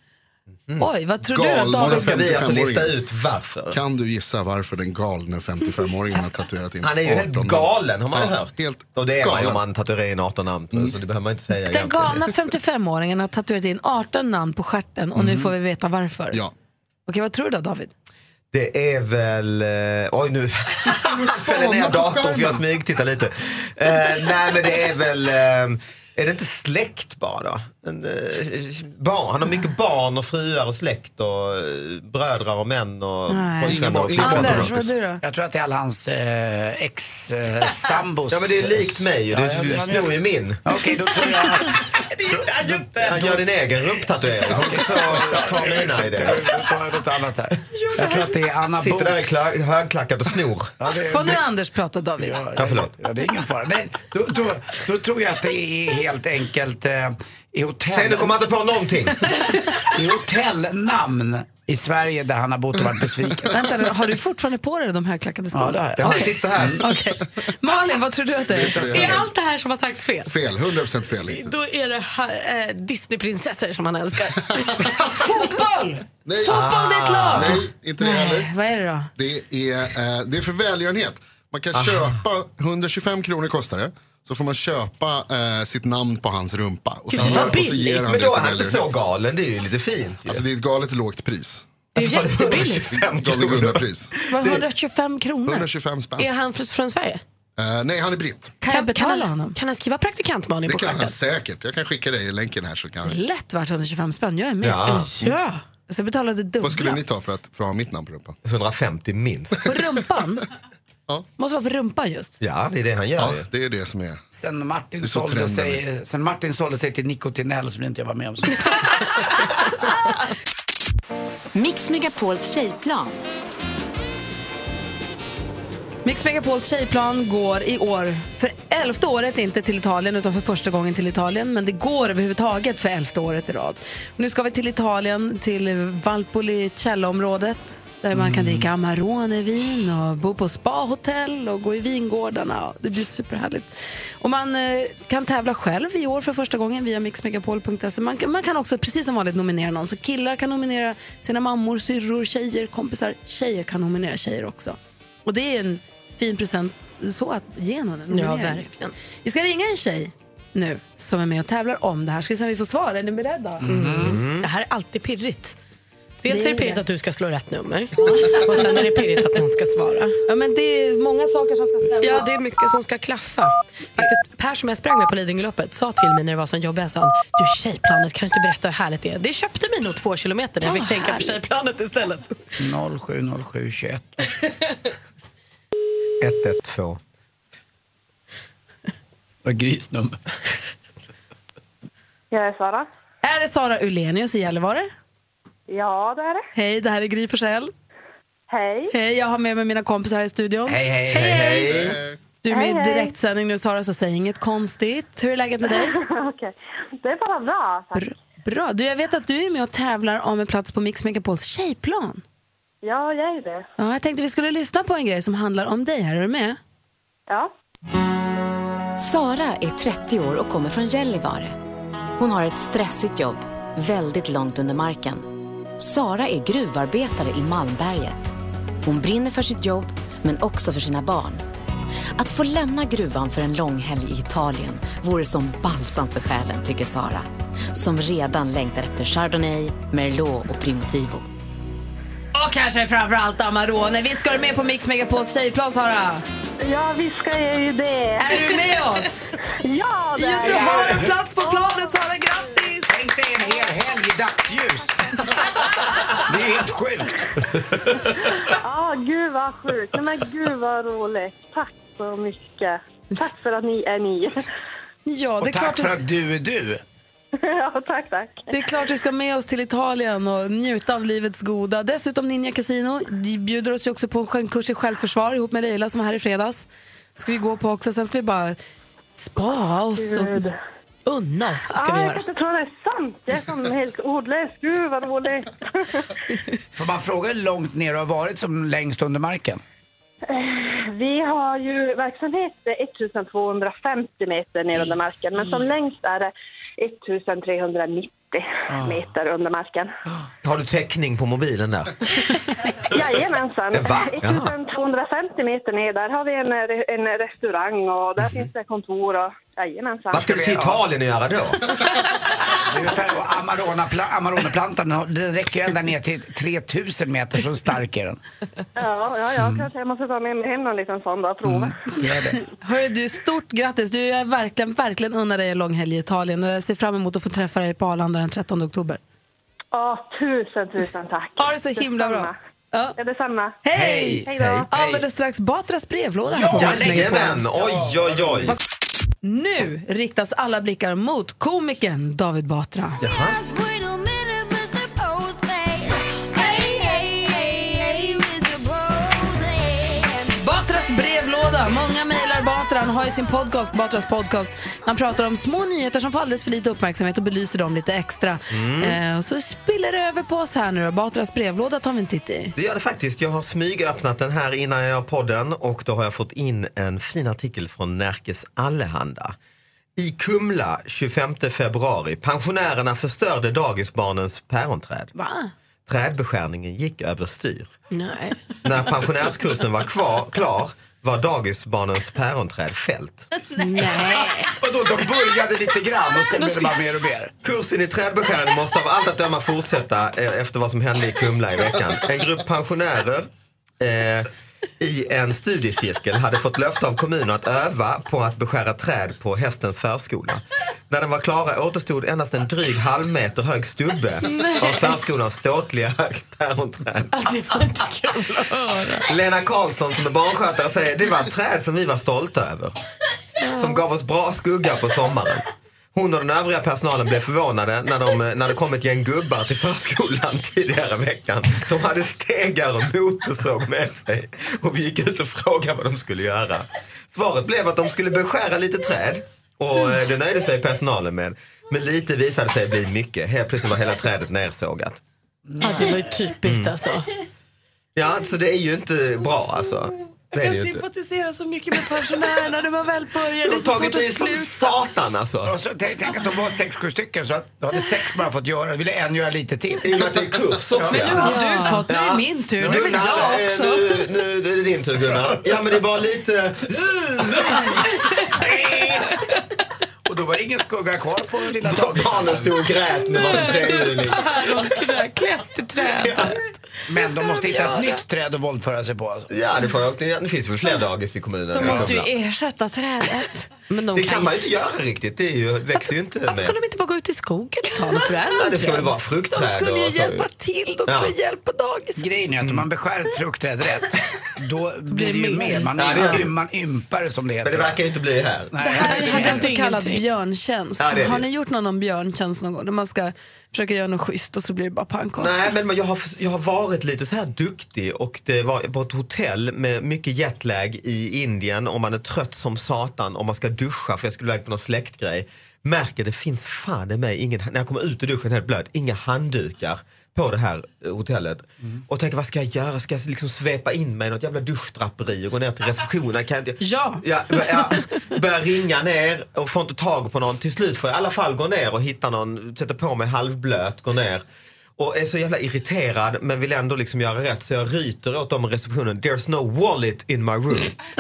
Speaker 2: Oj, vad tror du att
Speaker 23: Galne
Speaker 2: David...
Speaker 22: ska vi alltså lista
Speaker 23: 55-åringen.
Speaker 22: ut varför.
Speaker 23: Kan du gissa varför den galne 55-åringen har tatuerat in 18
Speaker 22: Han är ju helt
Speaker 23: namn?
Speaker 22: galen har man ju
Speaker 23: Ja,
Speaker 22: hört.
Speaker 23: Helt
Speaker 22: Och det är man ju
Speaker 23: galen. Mm.
Speaker 22: om man tatuerar in 18 namn så det behöver man inte säga
Speaker 2: Den
Speaker 22: egentligen.
Speaker 2: galna 55-åringen har tatuerat in 18 namn på stjärten och nu får vi veta varför.
Speaker 22: Ja.
Speaker 2: Okej, vad tror du då David?
Speaker 22: Det är väl, eh, oj nu fäller
Speaker 23: spanar
Speaker 22: ner
Speaker 23: på
Speaker 22: datorn för
Speaker 23: skärmen.
Speaker 22: jag smygtittar lite. Eh, nej men det är väl, eh, är det inte släkt bara då? En, eh, barn, han har mycket barn och fruar och släkt och eh, brödrar och män och
Speaker 2: Nej.
Speaker 22: pojkvänner och
Speaker 2: Ingen barn- ingen
Speaker 22: flickvänner.
Speaker 2: Anders, vad du då?
Speaker 3: Jag tror att det är alla hans eh, ex-sambos.
Speaker 22: Ja men det är likt mig ju,
Speaker 3: Ja,
Speaker 22: du,
Speaker 3: jag
Speaker 22: du
Speaker 3: vet.
Speaker 22: snor ju min.
Speaker 3: Okej, då tror jag att...
Speaker 22: Han gör din egen rumptatuering. Ta- Ta mina idéer.
Speaker 3: tar jag något annat här. Jag tror att det är Anna
Speaker 22: Sitter där i
Speaker 3: Boks.
Speaker 22: kla- högklackat och snor.
Speaker 3: Ja, det är-
Speaker 2: Får nu Anders prata David?
Speaker 22: Ja, förlåt.
Speaker 3: Ja, det är ingen fara. Nej, då, då, då tror jag att det är helt enkelt eh, i hotell...
Speaker 22: Säg, nu kommer jag inte på någonting.
Speaker 3: I hotellnamn i Sverige där han har bott och varit besviken.
Speaker 2: Vänta nu, har du fortfarande på dig de högklackade skorna?
Speaker 3: Ja, det har
Speaker 2: Okej.
Speaker 3: jag. Jag sitter här.
Speaker 2: Okej. Malin, vad tror du att det är?
Speaker 7: Är allt det här som har sagts fel?
Speaker 23: Fel, 100% fel hittills.
Speaker 7: Då är det eh, Disneyprinsessor som han älskar.
Speaker 2: Fotboll!
Speaker 23: Nej. Ah,
Speaker 2: Fotboll, det är ett lag.
Speaker 23: Nej, inte det heller.
Speaker 2: Vad är det då?
Speaker 23: eh,
Speaker 2: Ah.
Speaker 23: Det är, eh, det är för välgörenhet. Man kan köpa, 125 kronor kostar det. Så får man köpa eh, sitt namn på hans rumpa. Och,
Speaker 22: Gud,
Speaker 23: sen
Speaker 22: det var
Speaker 23: gör- och så
Speaker 22: billigt.
Speaker 23: ger han
Speaker 22: Men
Speaker 23: det
Speaker 22: då
Speaker 23: till
Speaker 22: är han inte
Speaker 23: välgörenhet.
Speaker 22: så galen, det är ju lite fint
Speaker 23: Alltså det är ett galet lågt pris.
Speaker 7: Det är jättebilligt.
Speaker 22: 25
Speaker 23: Galne Gunnar-pris.
Speaker 2: Var det 125 kronor?
Speaker 23: 125 spänn.
Speaker 7: Är han fr- från Sverige?
Speaker 23: Eh, nej, han är britt.
Speaker 7: Kan, jag kan han, honom? Kan han skriva praktikant Malin
Speaker 23: Det
Speaker 7: på
Speaker 23: kan han
Speaker 7: stjärten?
Speaker 23: säkert. Jag kan skicka dig länken här så kan
Speaker 2: Lätt värt 125 spänn, jag är med.
Speaker 23: Ja.
Speaker 2: ja. Så jag betalade dubbla.
Speaker 23: Vad skulle ni ta för att, för att ha mitt namn på rumpan?
Speaker 22: 150 minst.
Speaker 2: På rumpan? Måste vara på rumpan just.
Speaker 22: Ja, det är det han gör.
Speaker 23: Ja, det är det som är.
Speaker 3: Sen Martin,
Speaker 23: Det är så
Speaker 3: sålde
Speaker 23: trenden
Speaker 3: sig, sen Martin sålde sig till Nicotinell så vill inte jag vara med om så.
Speaker 6: Mix Megapols tjejplan.
Speaker 2: Mix Megapols tjejplan går i år för elfte året, inte till Italien utan för första gången till Italien, men det går överhuvudtaget för elfte året i rad. Nu ska vi till Italien, till Valpolicella-området där man kan dricka Amarone-vin och bo på spahotell och gå i vingårdarna. Det blir superhärligt. Och man eh, kan tävla själv i år för första gången via mixmegapol.se. Man, kan- man kan också precis som vanligt nominera någon. Så killar kan nominera sina mammor, syrror, tjejer, kompisar. Tjejer kan nominera tjejer också. Och det är en fin present så att ge någon en
Speaker 7: Ja,
Speaker 2: nominering.
Speaker 7: verkligen.
Speaker 2: Vi ska ringa en tjej nu som är med och tävlar om det här. Ska vi se om vi får svar. Är ni beredda?
Speaker 7: Mm. Det här är alltid pirrigt. Dels
Speaker 2: Det
Speaker 7: är
Speaker 2: är
Speaker 7: det pirrigt
Speaker 2: det.
Speaker 7: att du ska slå rätt nummer och sen är det pirrigt att någon ska svara.
Speaker 2: Ja, men det är många saker som ska stämma.
Speaker 7: Ja, det är mycket som ska klaffa. Faktiskt, Per som jag sprang med på Lidingöloppet sa till mig när det var som jobbigast, sa han, du tjejplanet, kan du inte berätta hur härligt det är? Det köpte mig nog två kilometer när jag fick
Speaker 3: Åh,
Speaker 7: tänka på
Speaker 3: härligt.
Speaker 7: tjejplanet istället.
Speaker 3: 070721.
Speaker 22: 112.
Speaker 3: Vad grisnummer.
Speaker 2: Jag är Sara. Är det Sara Ulenius i Gällivare? Ja, det är det. Hej, det här är Gry Forssell. Hej. Hej, jag har med mig mina kompisar här i studion. Hej, hej, hej. Du är med
Speaker 4: Hej,
Speaker 2: i
Speaker 4: hej.
Speaker 2: direktsändning nu Sara, så säg inget konstigt. Hur är läget med dig?
Speaker 4: Okej. Det är bara bra. tack.
Speaker 2: Bra. Du, jag vet att du är med och tävlar om en plats på Mix Megapols tjejplan.
Speaker 4: Ja, jag är det.
Speaker 2: Ja, jag tänkte vi skulle lyssna på en grej som handlar om dig. Här är du med?
Speaker 4: Ja.
Speaker 6: Sara är 30 år och kommer från Gällivare. Hon har ett stressigt jobb, väldigt långt under marken. Sara är gruvarbetare i Malmberget. Hon brinner för sitt jobb, men också för sina barn. Att få lämna gruvan för en långhelg i Italien vore som balsam för själen, tycker Sara. Som redan längtar efter Chardonnay, Merlot och Primitivo.
Speaker 2: Och kanske framförallt Amarone. Vi ska du med på Mix Megapols tjejplan, Sara?
Speaker 4: Ja, visst ska jag ju det.
Speaker 2: Är du med oss?
Speaker 4: ja, det
Speaker 2: Ja,
Speaker 4: är
Speaker 2: du
Speaker 4: jag.
Speaker 2: har en plats på planet, Sara. Grattis!
Speaker 3: Tänk dig en hel helg i dagsljus. Det är helt sjukt.
Speaker 4: Ja, gud vad sjukt. Nej, men gud vad roligt. Tack så mycket. Tack för att ni är ni.
Speaker 2: Ja,
Speaker 3: Och tack för att du är du.
Speaker 4: ja, tack, tack.
Speaker 2: Det är klart du ska med oss till Italien och njuta av livets goda. Dessutom Ninja Casino bjuder oss ju också på en sjöngkurs i självförsvar ihop med Leila som var här i fredags. ska vi gå på också. Sen ska vi bara spa oss
Speaker 4: Gud.
Speaker 2: och unna oss. Ska
Speaker 4: ah,
Speaker 2: vi
Speaker 4: jag
Speaker 2: göra.
Speaker 4: kan inte tro det är sant. Jag är som helt ordlös. Gud vad roligt.
Speaker 3: Får man fråga hur långt ner du har varit som längst under marken?
Speaker 4: Eh, Vi har ju verksamhet eh, 1250 meter ner under marken, men som längst är det 1390 meter under marken.
Speaker 22: Har du täckning på mobilen där?
Speaker 4: Jajamensan.
Speaker 22: Va? Jaha.
Speaker 4: 1250 meter ner, där har vi en, re- en restaurang och där finns det kontor och jajamensan.
Speaker 22: Mhm. Vad ska du till Italien och göra då?
Speaker 3: Du, Per, och Amarona- Amaroneplantan, den har- den räcker ju ända ner till 3000 meter, så stark är den.
Speaker 4: Ja, ja, ja kanske jag måste ta med mig hem någon liten sån då och prova.
Speaker 22: Mm.
Speaker 2: Hörru du, stort grattis. Du, jag verkligen, verkligen unnar dig en lång helg i Italien och jag ser fram emot att få träffa dig på Arlanda den 13 oktober.
Speaker 4: Ja, tusen, tusen tack.
Speaker 2: Ha det så himla bra.
Speaker 4: Detsamma. Ja, detsamma.
Speaker 2: Hej!
Speaker 4: Hej då!
Speaker 2: Alldeles strax Batras brevlåda här på Mix Megapol.
Speaker 22: Jajamän, oj oj oj.
Speaker 2: Nu riktas alla blickar mot komikern David Batra. Batras brevlåda. Många mejlar Batra. Han har ju sin podcast, Batras podcast. Han pratar om små nyheter som får alldeles för lite uppmärksamhet och belyser dem lite extra.
Speaker 22: Mm.
Speaker 2: Eh, och så spiller det över på oss här nu då. Batras brevlåda tar vi en titt i.
Speaker 22: Det gör det faktiskt. Jag har smygöppnat den här innan jag gör podden och då har jag fått in en fin artikel från Närkes Allehanda. I Kumla 25 februari. Pensionärerna förstörde dagisbarnens päronträd.
Speaker 2: Va?
Speaker 22: Trädbeskärningen gick överstyr.
Speaker 7: Nej.
Speaker 22: När pensionärskursen var kvar, klar var dagisbarnens päronträd fällt.
Speaker 3: Nej. Vadå, de började lite grann och sen blev det bara mer och mer.
Speaker 22: Kursen i trädbeskärning måste av allt att döma fortsätta eh, efter vad som hände i Kumla i veckan. En grupp pensionärer eh, i en studiecirkel hade fått löfte av kommunen att öva på att beskära träd på hästens förskola. När den var klara återstod endast en dryg halvmeter hög stubbe
Speaker 18: Nej.
Speaker 22: av förskolans ståtliga päronträd.
Speaker 18: Det var inte kul att höra.
Speaker 22: Lena Karlsson som är barnskötare säger det var ett träd som vi var stolta över. Som gav oss bra skugga på sommaren. Hon och den övriga personalen blev förvånade när, de, när det kom ett gäng gubbar till förskolan tidigare i veckan. De hade stegar och motorsåg med sig och vi gick ut och frågade vad de skulle göra. Svaret blev att de skulle beskära lite träd och eh, det nöjde sig personalen med. Men lite visade sig bli mycket. Helt plötsligt var hela trädet nersågat.
Speaker 7: Ja, det var ju typiskt
Speaker 22: Mm.
Speaker 7: alltså.
Speaker 22: Ja, alltså det är ju inte bra alltså. Det är
Speaker 7: Jag
Speaker 22: det ju inte.
Speaker 7: sympatiserar så mycket med pensionärerna när man väl börjar.
Speaker 22: De
Speaker 7: Det är
Speaker 22: har
Speaker 7: så svårt
Speaker 22: tagit
Speaker 7: att
Speaker 22: i som
Speaker 7: sluta.
Speaker 22: satan alltså.
Speaker 3: Och så, tänk, tänk att de var sex, sju stycken så att då hade sex bara fått göra Då ville en göra lite till.
Speaker 22: I och med att det är kurs också.
Speaker 3: Ja.
Speaker 22: ja. Ja.
Speaker 3: Nu
Speaker 22: Gunnar,
Speaker 3: är det jag
Speaker 22: eh,
Speaker 3: också.
Speaker 22: Nu, nu, nu är det din tur Gunnar. Ja men det är bara lite...
Speaker 3: Och då var det ingen skugga kvar på lilla dagen.
Speaker 22: Barnen stod och grät med varsin trehjuling.
Speaker 3: Klätt i trädet. Men de måste hitta ett nytt träd att våldföra sig på. Alltså.
Speaker 22: Ja det, får jag, det finns väl fler dagis i kommunen.
Speaker 7: De måste ju ersätta trädet. Men de
Speaker 22: det kan man ju
Speaker 7: ju-
Speaker 22: inte göra riktigt. Det är ju, växer ju inte
Speaker 7: Varför
Speaker 22: med.
Speaker 7: kan de inte bara gå ut i skogen och ta något träd?
Speaker 22: Ja, det ska väl vara fruktträd
Speaker 7: De skulle ju
Speaker 22: och så.
Speaker 7: hjälpa till. De skulle
Speaker 22: Ja.
Speaker 7: hjälpa dagis.
Speaker 3: Grejen är att om man beskär ett fruktträd rätt, då blir det ju
Speaker 7: mer.
Speaker 3: mer. Man,
Speaker 22: Ja, det är
Speaker 3: man,
Speaker 22: det.
Speaker 3: man ympar det som det heter.
Speaker 22: Men det verkar ju inte bli här.
Speaker 3: Nej.
Speaker 22: Det
Speaker 7: här
Speaker 3: Det
Speaker 7: är
Speaker 3: händer
Speaker 7: en så kallad
Speaker 3: ingenting.
Speaker 7: björntjänst.
Speaker 22: Ja, det är det.
Speaker 7: har ni gjort någon om björntjänst någon gång? När man ska försöka göra något schysst och så blir det bara pannkaka.
Speaker 22: Nej, men jag har, jag har varit lite så här duktig och det var på ett hotell med mycket jetlag i Indien och man är trött som satan och man ska duscha för jag skulle iväg på någon släktgrej. Märker det finns fan i mig ingen, när jag kommer ut ur duschen helt blöt, inga handdukar på det här eh, hotellet. Och tänker vad ska jag göra? Ska jag liksom svepa in mig i något jävla duschdraperi och gå ner till receptionen? Kan jag, inte-
Speaker 7: Ja.
Speaker 22: Ja, jag börjar ringa ner och får inte tag på någon. Till slut får jag i alla fall gå ner och hitta någon, sätta på mig halvblöt, gå ner. Och är så jävla irriterad men vill ändå liksom göra rätt så jag ryter åt dem i receptionen. There's no wallet in my room.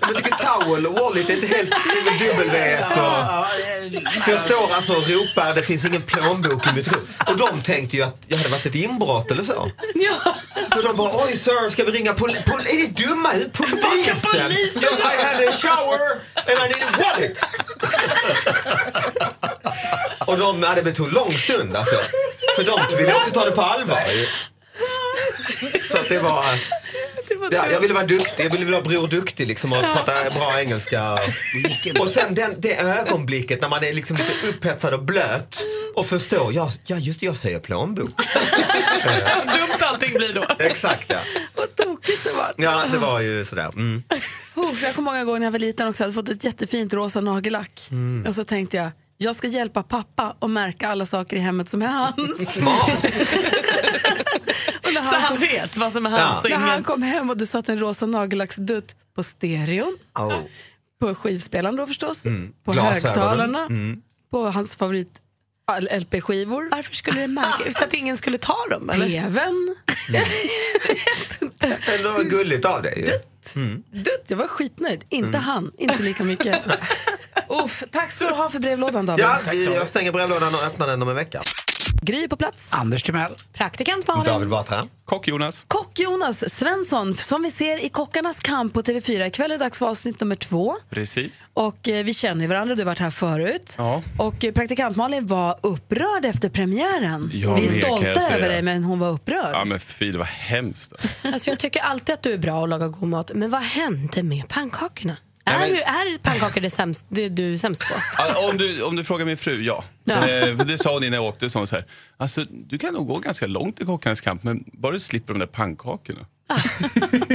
Speaker 22: jag tycker towel och wallet är inte helt med W. Och... Så jag står alltså och ropar det finns ingen plånbok i mitt rum. Och de tänkte ju att jag hade varit ett inbrott eller så. Så de bara, oj sir, ska vi ringa poli- pol- Är ni dumma? Polisen?
Speaker 18: polisen?
Speaker 22: Jag I had a shower and I needed wallet. Och de, ja, det tog lång stund alltså. För de ville också ta det på allvar ju. Så att det var... Ja, jag ville vara duktig, jag ville vara Bror Duktig liksom och prata bra engelska. Och sen den, det ögonblicket när man är liksom lite upphetsad och blöt och förstår, ja, ja just det, jag säger plånbok.
Speaker 7: dumt allting blir då.
Speaker 22: Exakt ja.
Speaker 7: Vad tokigt det var.
Speaker 22: Ja, det var ju sådär. Mm.
Speaker 7: Uff, jag kommer ihåg en gång när jag var liten också, jag hade fått ett jättefint rosa nagellack.
Speaker 22: Mm.
Speaker 7: Och så tänkte jag, jag ska hjälpa pappa och märka alla saker i hemmet som är hans. och när
Speaker 18: Så han
Speaker 7: kom-
Speaker 18: vet vad som är hans
Speaker 7: Ja.
Speaker 18: och
Speaker 7: När
Speaker 18: ingen-
Speaker 7: han kom hem och det satt en rosa nagellacksdutt på stereon,
Speaker 22: Oh.
Speaker 7: på skivspelaren då förstås,
Speaker 22: Mm.
Speaker 7: på
Speaker 22: Glasögonen.
Speaker 7: högtalarna,
Speaker 22: Mm.
Speaker 7: på hans favorit eh, LP-skivor. Varför skulle det märka? Så att ingen skulle ta dem? Eller? TVn.
Speaker 22: Det var gulligt av dig ju. Mm.
Speaker 7: Dutt, jag var skitnöjd. Inte
Speaker 22: Mm.
Speaker 7: han, inte lika mycket. Uff, tack ska du ha för brevlådan David.
Speaker 22: Ja, vi- jag stänger brevlådan och öppnar den om en vecka.
Speaker 7: Gry på plats.
Speaker 3: Anders Timell.
Speaker 7: Praktikant Malin.
Speaker 22: David Batra. Kock Jonas.
Speaker 7: Kock Jonas Svensson, som vi ser i Kockarnas kamp på TV4. Ikväll är det dags för avsnitt nummer två.
Speaker 24: Precis.
Speaker 7: Och eh, vi känner ju varandra, du har varit här förut.
Speaker 24: Ja.
Speaker 7: Och eh, praktikant Malin var upprörd efter premiären.
Speaker 24: Ja,
Speaker 7: vi är
Speaker 24: det kan jag
Speaker 7: stolta
Speaker 24: säga.
Speaker 7: över dig, men hon var upprörd.
Speaker 24: Ja men fy, det var hemskt.
Speaker 7: Alltså, jag tycker alltid att du är bra och lagar god mat, men vad hände med pannkakorna?
Speaker 24: Nej, men-
Speaker 7: är pannkakor det, sämst, det du är sämst på?
Speaker 24: Ja, om, du, om du frågar min fru, ja.
Speaker 7: Ja.
Speaker 24: Eh, för det sa hon innan jag åkte. Sa hon så här, alltså, du kan nog gå ganska långt i Kockarnas kamp, men bara du slipper de där pannkakorna.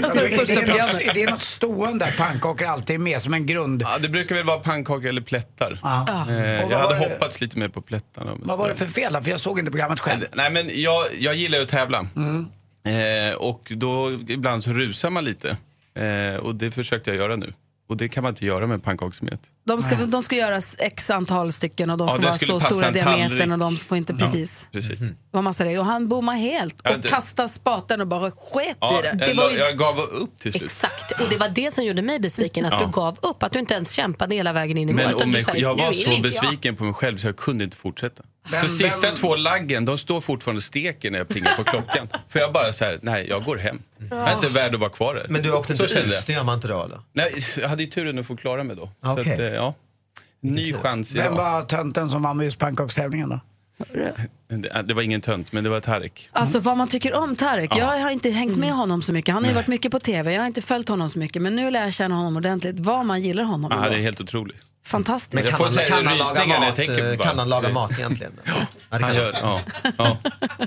Speaker 3: Alltså, är,
Speaker 24: första
Speaker 3: det något,
Speaker 24: programmet.
Speaker 3: är det något stående där pannkakor alltid är med som en grund?
Speaker 24: Ja, det brukar väl vara pannkaka eller plättar.
Speaker 3: Ja.
Speaker 24: Eh, jag
Speaker 3: Och vad
Speaker 24: hade
Speaker 3: var det-
Speaker 24: hoppats lite mer på plättarna. men
Speaker 3: Vad
Speaker 24: så
Speaker 3: var
Speaker 24: där.
Speaker 3: det för fel då? För jag såg inte programmet själv.
Speaker 24: Nej, men jag, jag gillar ju att tävla.
Speaker 3: Mm.
Speaker 24: Eh, och då ibland så rusar man lite. Eh, och det försökte jag göra nu. Och det kan man inte göra med en pannkakssmet.
Speaker 2: De ska, de ska göras x antal stycken och de
Speaker 24: Ja,
Speaker 2: ska
Speaker 24: det
Speaker 2: vara
Speaker 24: skulle
Speaker 2: så
Speaker 24: passa
Speaker 2: stora
Speaker 24: en
Speaker 2: diametern
Speaker 24: tallrik.
Speaker 2: och de får inte
Speaker 24: Ja,
Speaker 2: precis.
Speaker 24: precis.
Speaker 7: Mhm.
Speaker 2: Det var massa regler. Och han bommade helt
Speaker 24: Ja,
Speaker 2: och
Speaker 24: det-
Speaker 2: kastade spaten och bara sket
Speaker 24: Ja,
Speaker 2: i det.
Speaker 24: jag,
Speaker 7: var
Speaker 24: la-
Speaker 7: ju-
Speaker 24: jag gav upp till slut.
Speaker 7: Exakt, och det var det som gjorde mig besviken. Att
Speaker 24: Ja.
Speaker 7: du gav upp, att du inte ens kämpade hela vägen in i mål.
Speaker 24: Men
Speaker 7: utan
Speaker 24: om
Speaker 7: du
Speaker 24: jag,
Speaker 7: sa,
Speaker 24: jag
Speaker 7: "Nu
Speaker 24: var
Speaker 7: vill
Speaker 24: så
Speaker 7: inte
Speaker 24: besviken på mig själv så jag kunde inte fortsätta.
Speaker 7: Vem-
Speaker 24: så sista två laggen, de står fortfarande och steker när jag plingar på klockan. För jag bara så här, nej jag går hem. Jag är inte värd att vara kvar här.
Speaker 22: Men du åkte
Speaker 24: så
Speaker 22: inte
Speaker 24: kände
Speaker 22: ut,
Speaker 24: jag.
Speaker 22: det gör man inte då eller?
Speaker 24: Nej, jag hade ju turen att få klara mig då. Så
Speaker 22: Okej.
Speaker 24: att, eh, ja. Ny chans
Speaker 3: Vem
Speaker 24: idag.
Speaker 3: var tönten som vann med just pannkakstävlingen då?
Speaker 24: Det, det var ingen tönt, men det var Tarek.
Speaker 2: Alltså vad man tycker om Tarek.
Speaker 24: Ja. Mm.
Speaker 2: Jag har inte hängt med honom så mycket. Han har ju varit mycket på tv. Jag har inte följt honom så mycket. Men nu lär jag känna honom ordentligt. Vad man gillar honom.
Speaker 24: Ah,
Speaker 2: ändå.
Speaker 24: det är helt otroligt.
Speaker 2: Fantastiskt.
Speaker 24: Men Jag kan får han- säga kan han laga rysningar när jag mat, tänker på eh, bara- kan han laga mat
Speaker 22: egentligen?
Speaker 24: Han gör, ja, ja.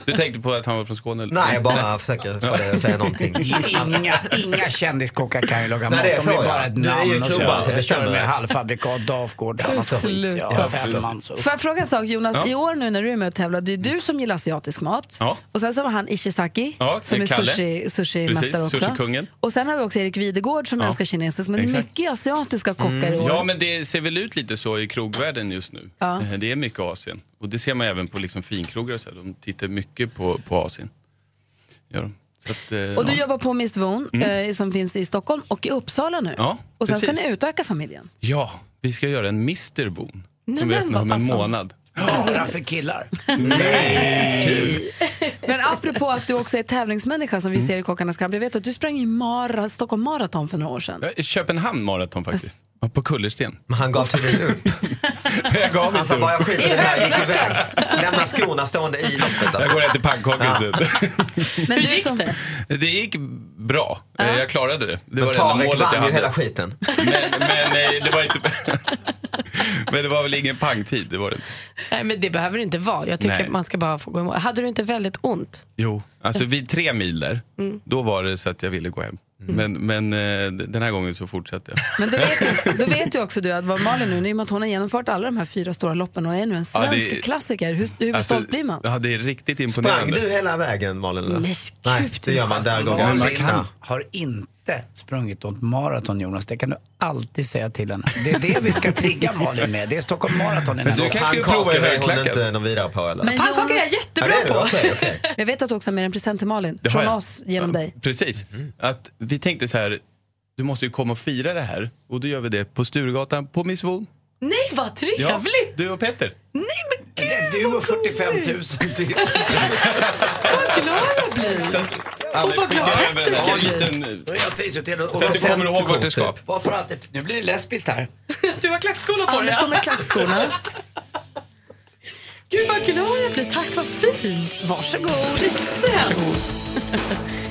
Speaker 24: Du tänkte på att han var från Skåne? Eller?
Speaker 22: Nej, jag bara försöker få dig att säga någonting.
Speaker 3: Inga, inga kändiskockar kan ju laga
Speaker 22: Nej,
Speaker 3: mat.
Speaker 22: det är
Speaker 3: De är
Speaker 22: så, ja.
Speaker 3: bara ett
Speaker 22: Du är ju
Speaker 3: namn och så.
Speaker 22: klubban, det
Speaker 3: Jag kör
Speaker 22: stämmer.
Speaker 3: med halvfabrikat, Dafgård, annat skit. Ja,
Speaker 2: Sluta.
Speaker 3: femman. så.
Speaker 2: Får jag fråga en sak Jonas?
Speaker 3: Ja.
Speaker 2: I år nu när du är med och tävlar, det är du som gillar asiatisk mat.
Speaker 3: Ja.
Speaker 2: Och sen så var han Ishizaki
Speaker 3: Ja,
Speaker 2: som är
Speaker 3: Kalle.
Speaker 2: sushi- sushi-mästare
Speaker 24: Precis,
Speaker 2: också.
Speaker 24: sushikungen.
Speaker 2: Och sen har vi också Erik Videgård som
Speaker 24: Ja.
Speaker 2: älskar kinesiskt. Men det är
Speaker 24: Exakt. Mm,
Speaker 2: mycket asiatiska kockar i år.
Speaker 24: Ja, men det ser väl ut lite så i krogvärlden just nu.
Speaker 2: Ja.
Speaker 24: Eh, Det är mycket Asien. Och det ser man även på liksom finkrogar och så här. De tittar mycket på, på Asien. Gör de. Så att, eh,
Speaker 2: Och du
Speaker 24: ja.
Speaker 2: jobbar på Miss Von
Speaker 24: Mm.
Speaker 2: eh, som finns i Stockholm och i Uppsala nu.
Speaker 24: Ja,
Speaker 2: och sen ska
Speaker 24: precis.
Speaker 2: ni utöka familjen.
Speaker 24: ja, vi ska göra en Mr. Boon.
Speaker 2: Nej,
Speaker 24: Som vi
Speaker 2: men
Speaker 24: öppnar om
Speaker 2: vad
Speaker 24: en
Speaker 2: passande.
Speaker 24: månad.
Speaker 3: Bara för killar.
Speaker 2: Men apropå att du också är tävlingsmänniska som vi
Speaker 7: Mm.
Speaker 2: ser i Kockarnas kamp. Jag vet att du sprang i Mara, Stockholm Marathon för några år sedan.
Speaker 24: Eh, Köpenhamn maraton faktiskt. Ja, På kullersten.
Speaker 22: Men han gav tydligen upp.
Speaker 24: jag gav
Speaker 22: Han sa bara jag skiter i det här, jag gick iväg. Lämna skorna stående i loppet.
Speaker 24: Jag
Speaker 22: Alltså.
Speaker 24: går och äter pannkaka istället.
Speaker 2: Men Hur gick det?
Speaker 24: Det gick bra. Eh, Jag klarade det. Det
Speaker 22: Men
Speaker 24: var det enda
Speaker 22: Tarek
Speaker 24: målet jag
Speaker 22: vann ju
Speaker 24: hade.
Speaker 22: hela skiten.
Speaker 24: Men, men, eh, det var inte... men det var väl ingen pangtid, det var det inte.
Speaker 7: Nej, men det behöver det inte vara. Jag tycker
Speaker 24: Nej.
Speaker 7: man ska bara få gå i mål. Hade du inte väldigt ont?
Speaker 24: Jo, alltså vid tre mil där,
Speaker 7: Mm.
Speaker 24: då var det så att jag ville gå hem. Men, men eh, d- den här gången så fortsatte jag.
Speaker 2: Men då vet, ju, då vet ju också du att vad Malin nu, i och med att hon har genomfört alla de här fyra stora loppen och är nu en
Speaker 24: Ja, det-
Speaker 2: svensk klassiker, hur, hur
Speaker 24: Alltså,
Speaker 2: stolt blir man?
Speaker 24: Ja, det är riktigt
Speaker 22: Sprang
Speaker 24: imponerande.
Speaker 22: du hela vägen Malin? eller?
Speaker 2: Nej,
Speaker 22: Nej, det gör man. Där går
Speaker 3: Malin
Speaker 22: gränsen.
Speaker 3: har inte sprungit något maraton Jonas. Det kan du alltid säga till henne. Det är det vi ska trigga Malin med. Det är Stockholm maraton i den här
Speaker 22: Och
Speaker 3: veckan.
Speaker 22: Pannkakor är hon inte någon vidare på eller?
Speaker 2: Men Jonas- Pannkakor är jag jättebra
Speaker 22: Ja, det är det.
Speaker 2: på.
Speaker 22: Okej, okej.
Speaker 2: Men Jag vet att du också har med en present till Malin,
Speaker 24: Det har
Speaker 2: från
Speaker 24: jag.
Speaker 2: oss, genom dig.
Speaker 24: Precis.
Speaker 22: Mm.
Speaker 24: Att vi tänkte så här, du måste ju komma och fira det här. Och då gör vi det på Sturegatan på Miss Von.
Speaker 7: Nej, vad trevligt!
Speaker 24: du och Petter.
Speaker 3: Du och 45 000 till.
Speaker 24: Så att- Anders,
Speaker 3: vad glad
Speaker 24: skicka
Speaker 3: Petter
Speaker 24: över den här
Speaker 3: ska bli.
Speaker 24: liten-
Speaker 3: Då är jag prisutdelad.
Speaker 24: Så att du kommer ihåg vart du ska.
Speaker 3: Varför alltid? Nu blir det lesbiskt här.
Speaker 7: Du har klackskorna på
Speaker 2: Anders
Speaker 7: dig.
Speaker 2: kommer klackskorna.
Speaker 7: Gud vad glad jag blir. Tack, vad fint.
Speaker 2: Varsågod. Present.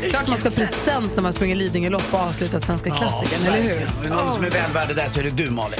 Speaker 2: Klart man ska ha present när man springer Lidingölopp och avslutat Svenska klassikern, eller hur?
Speaker 3: Är det någon som är väl värd det där så är det du Malin.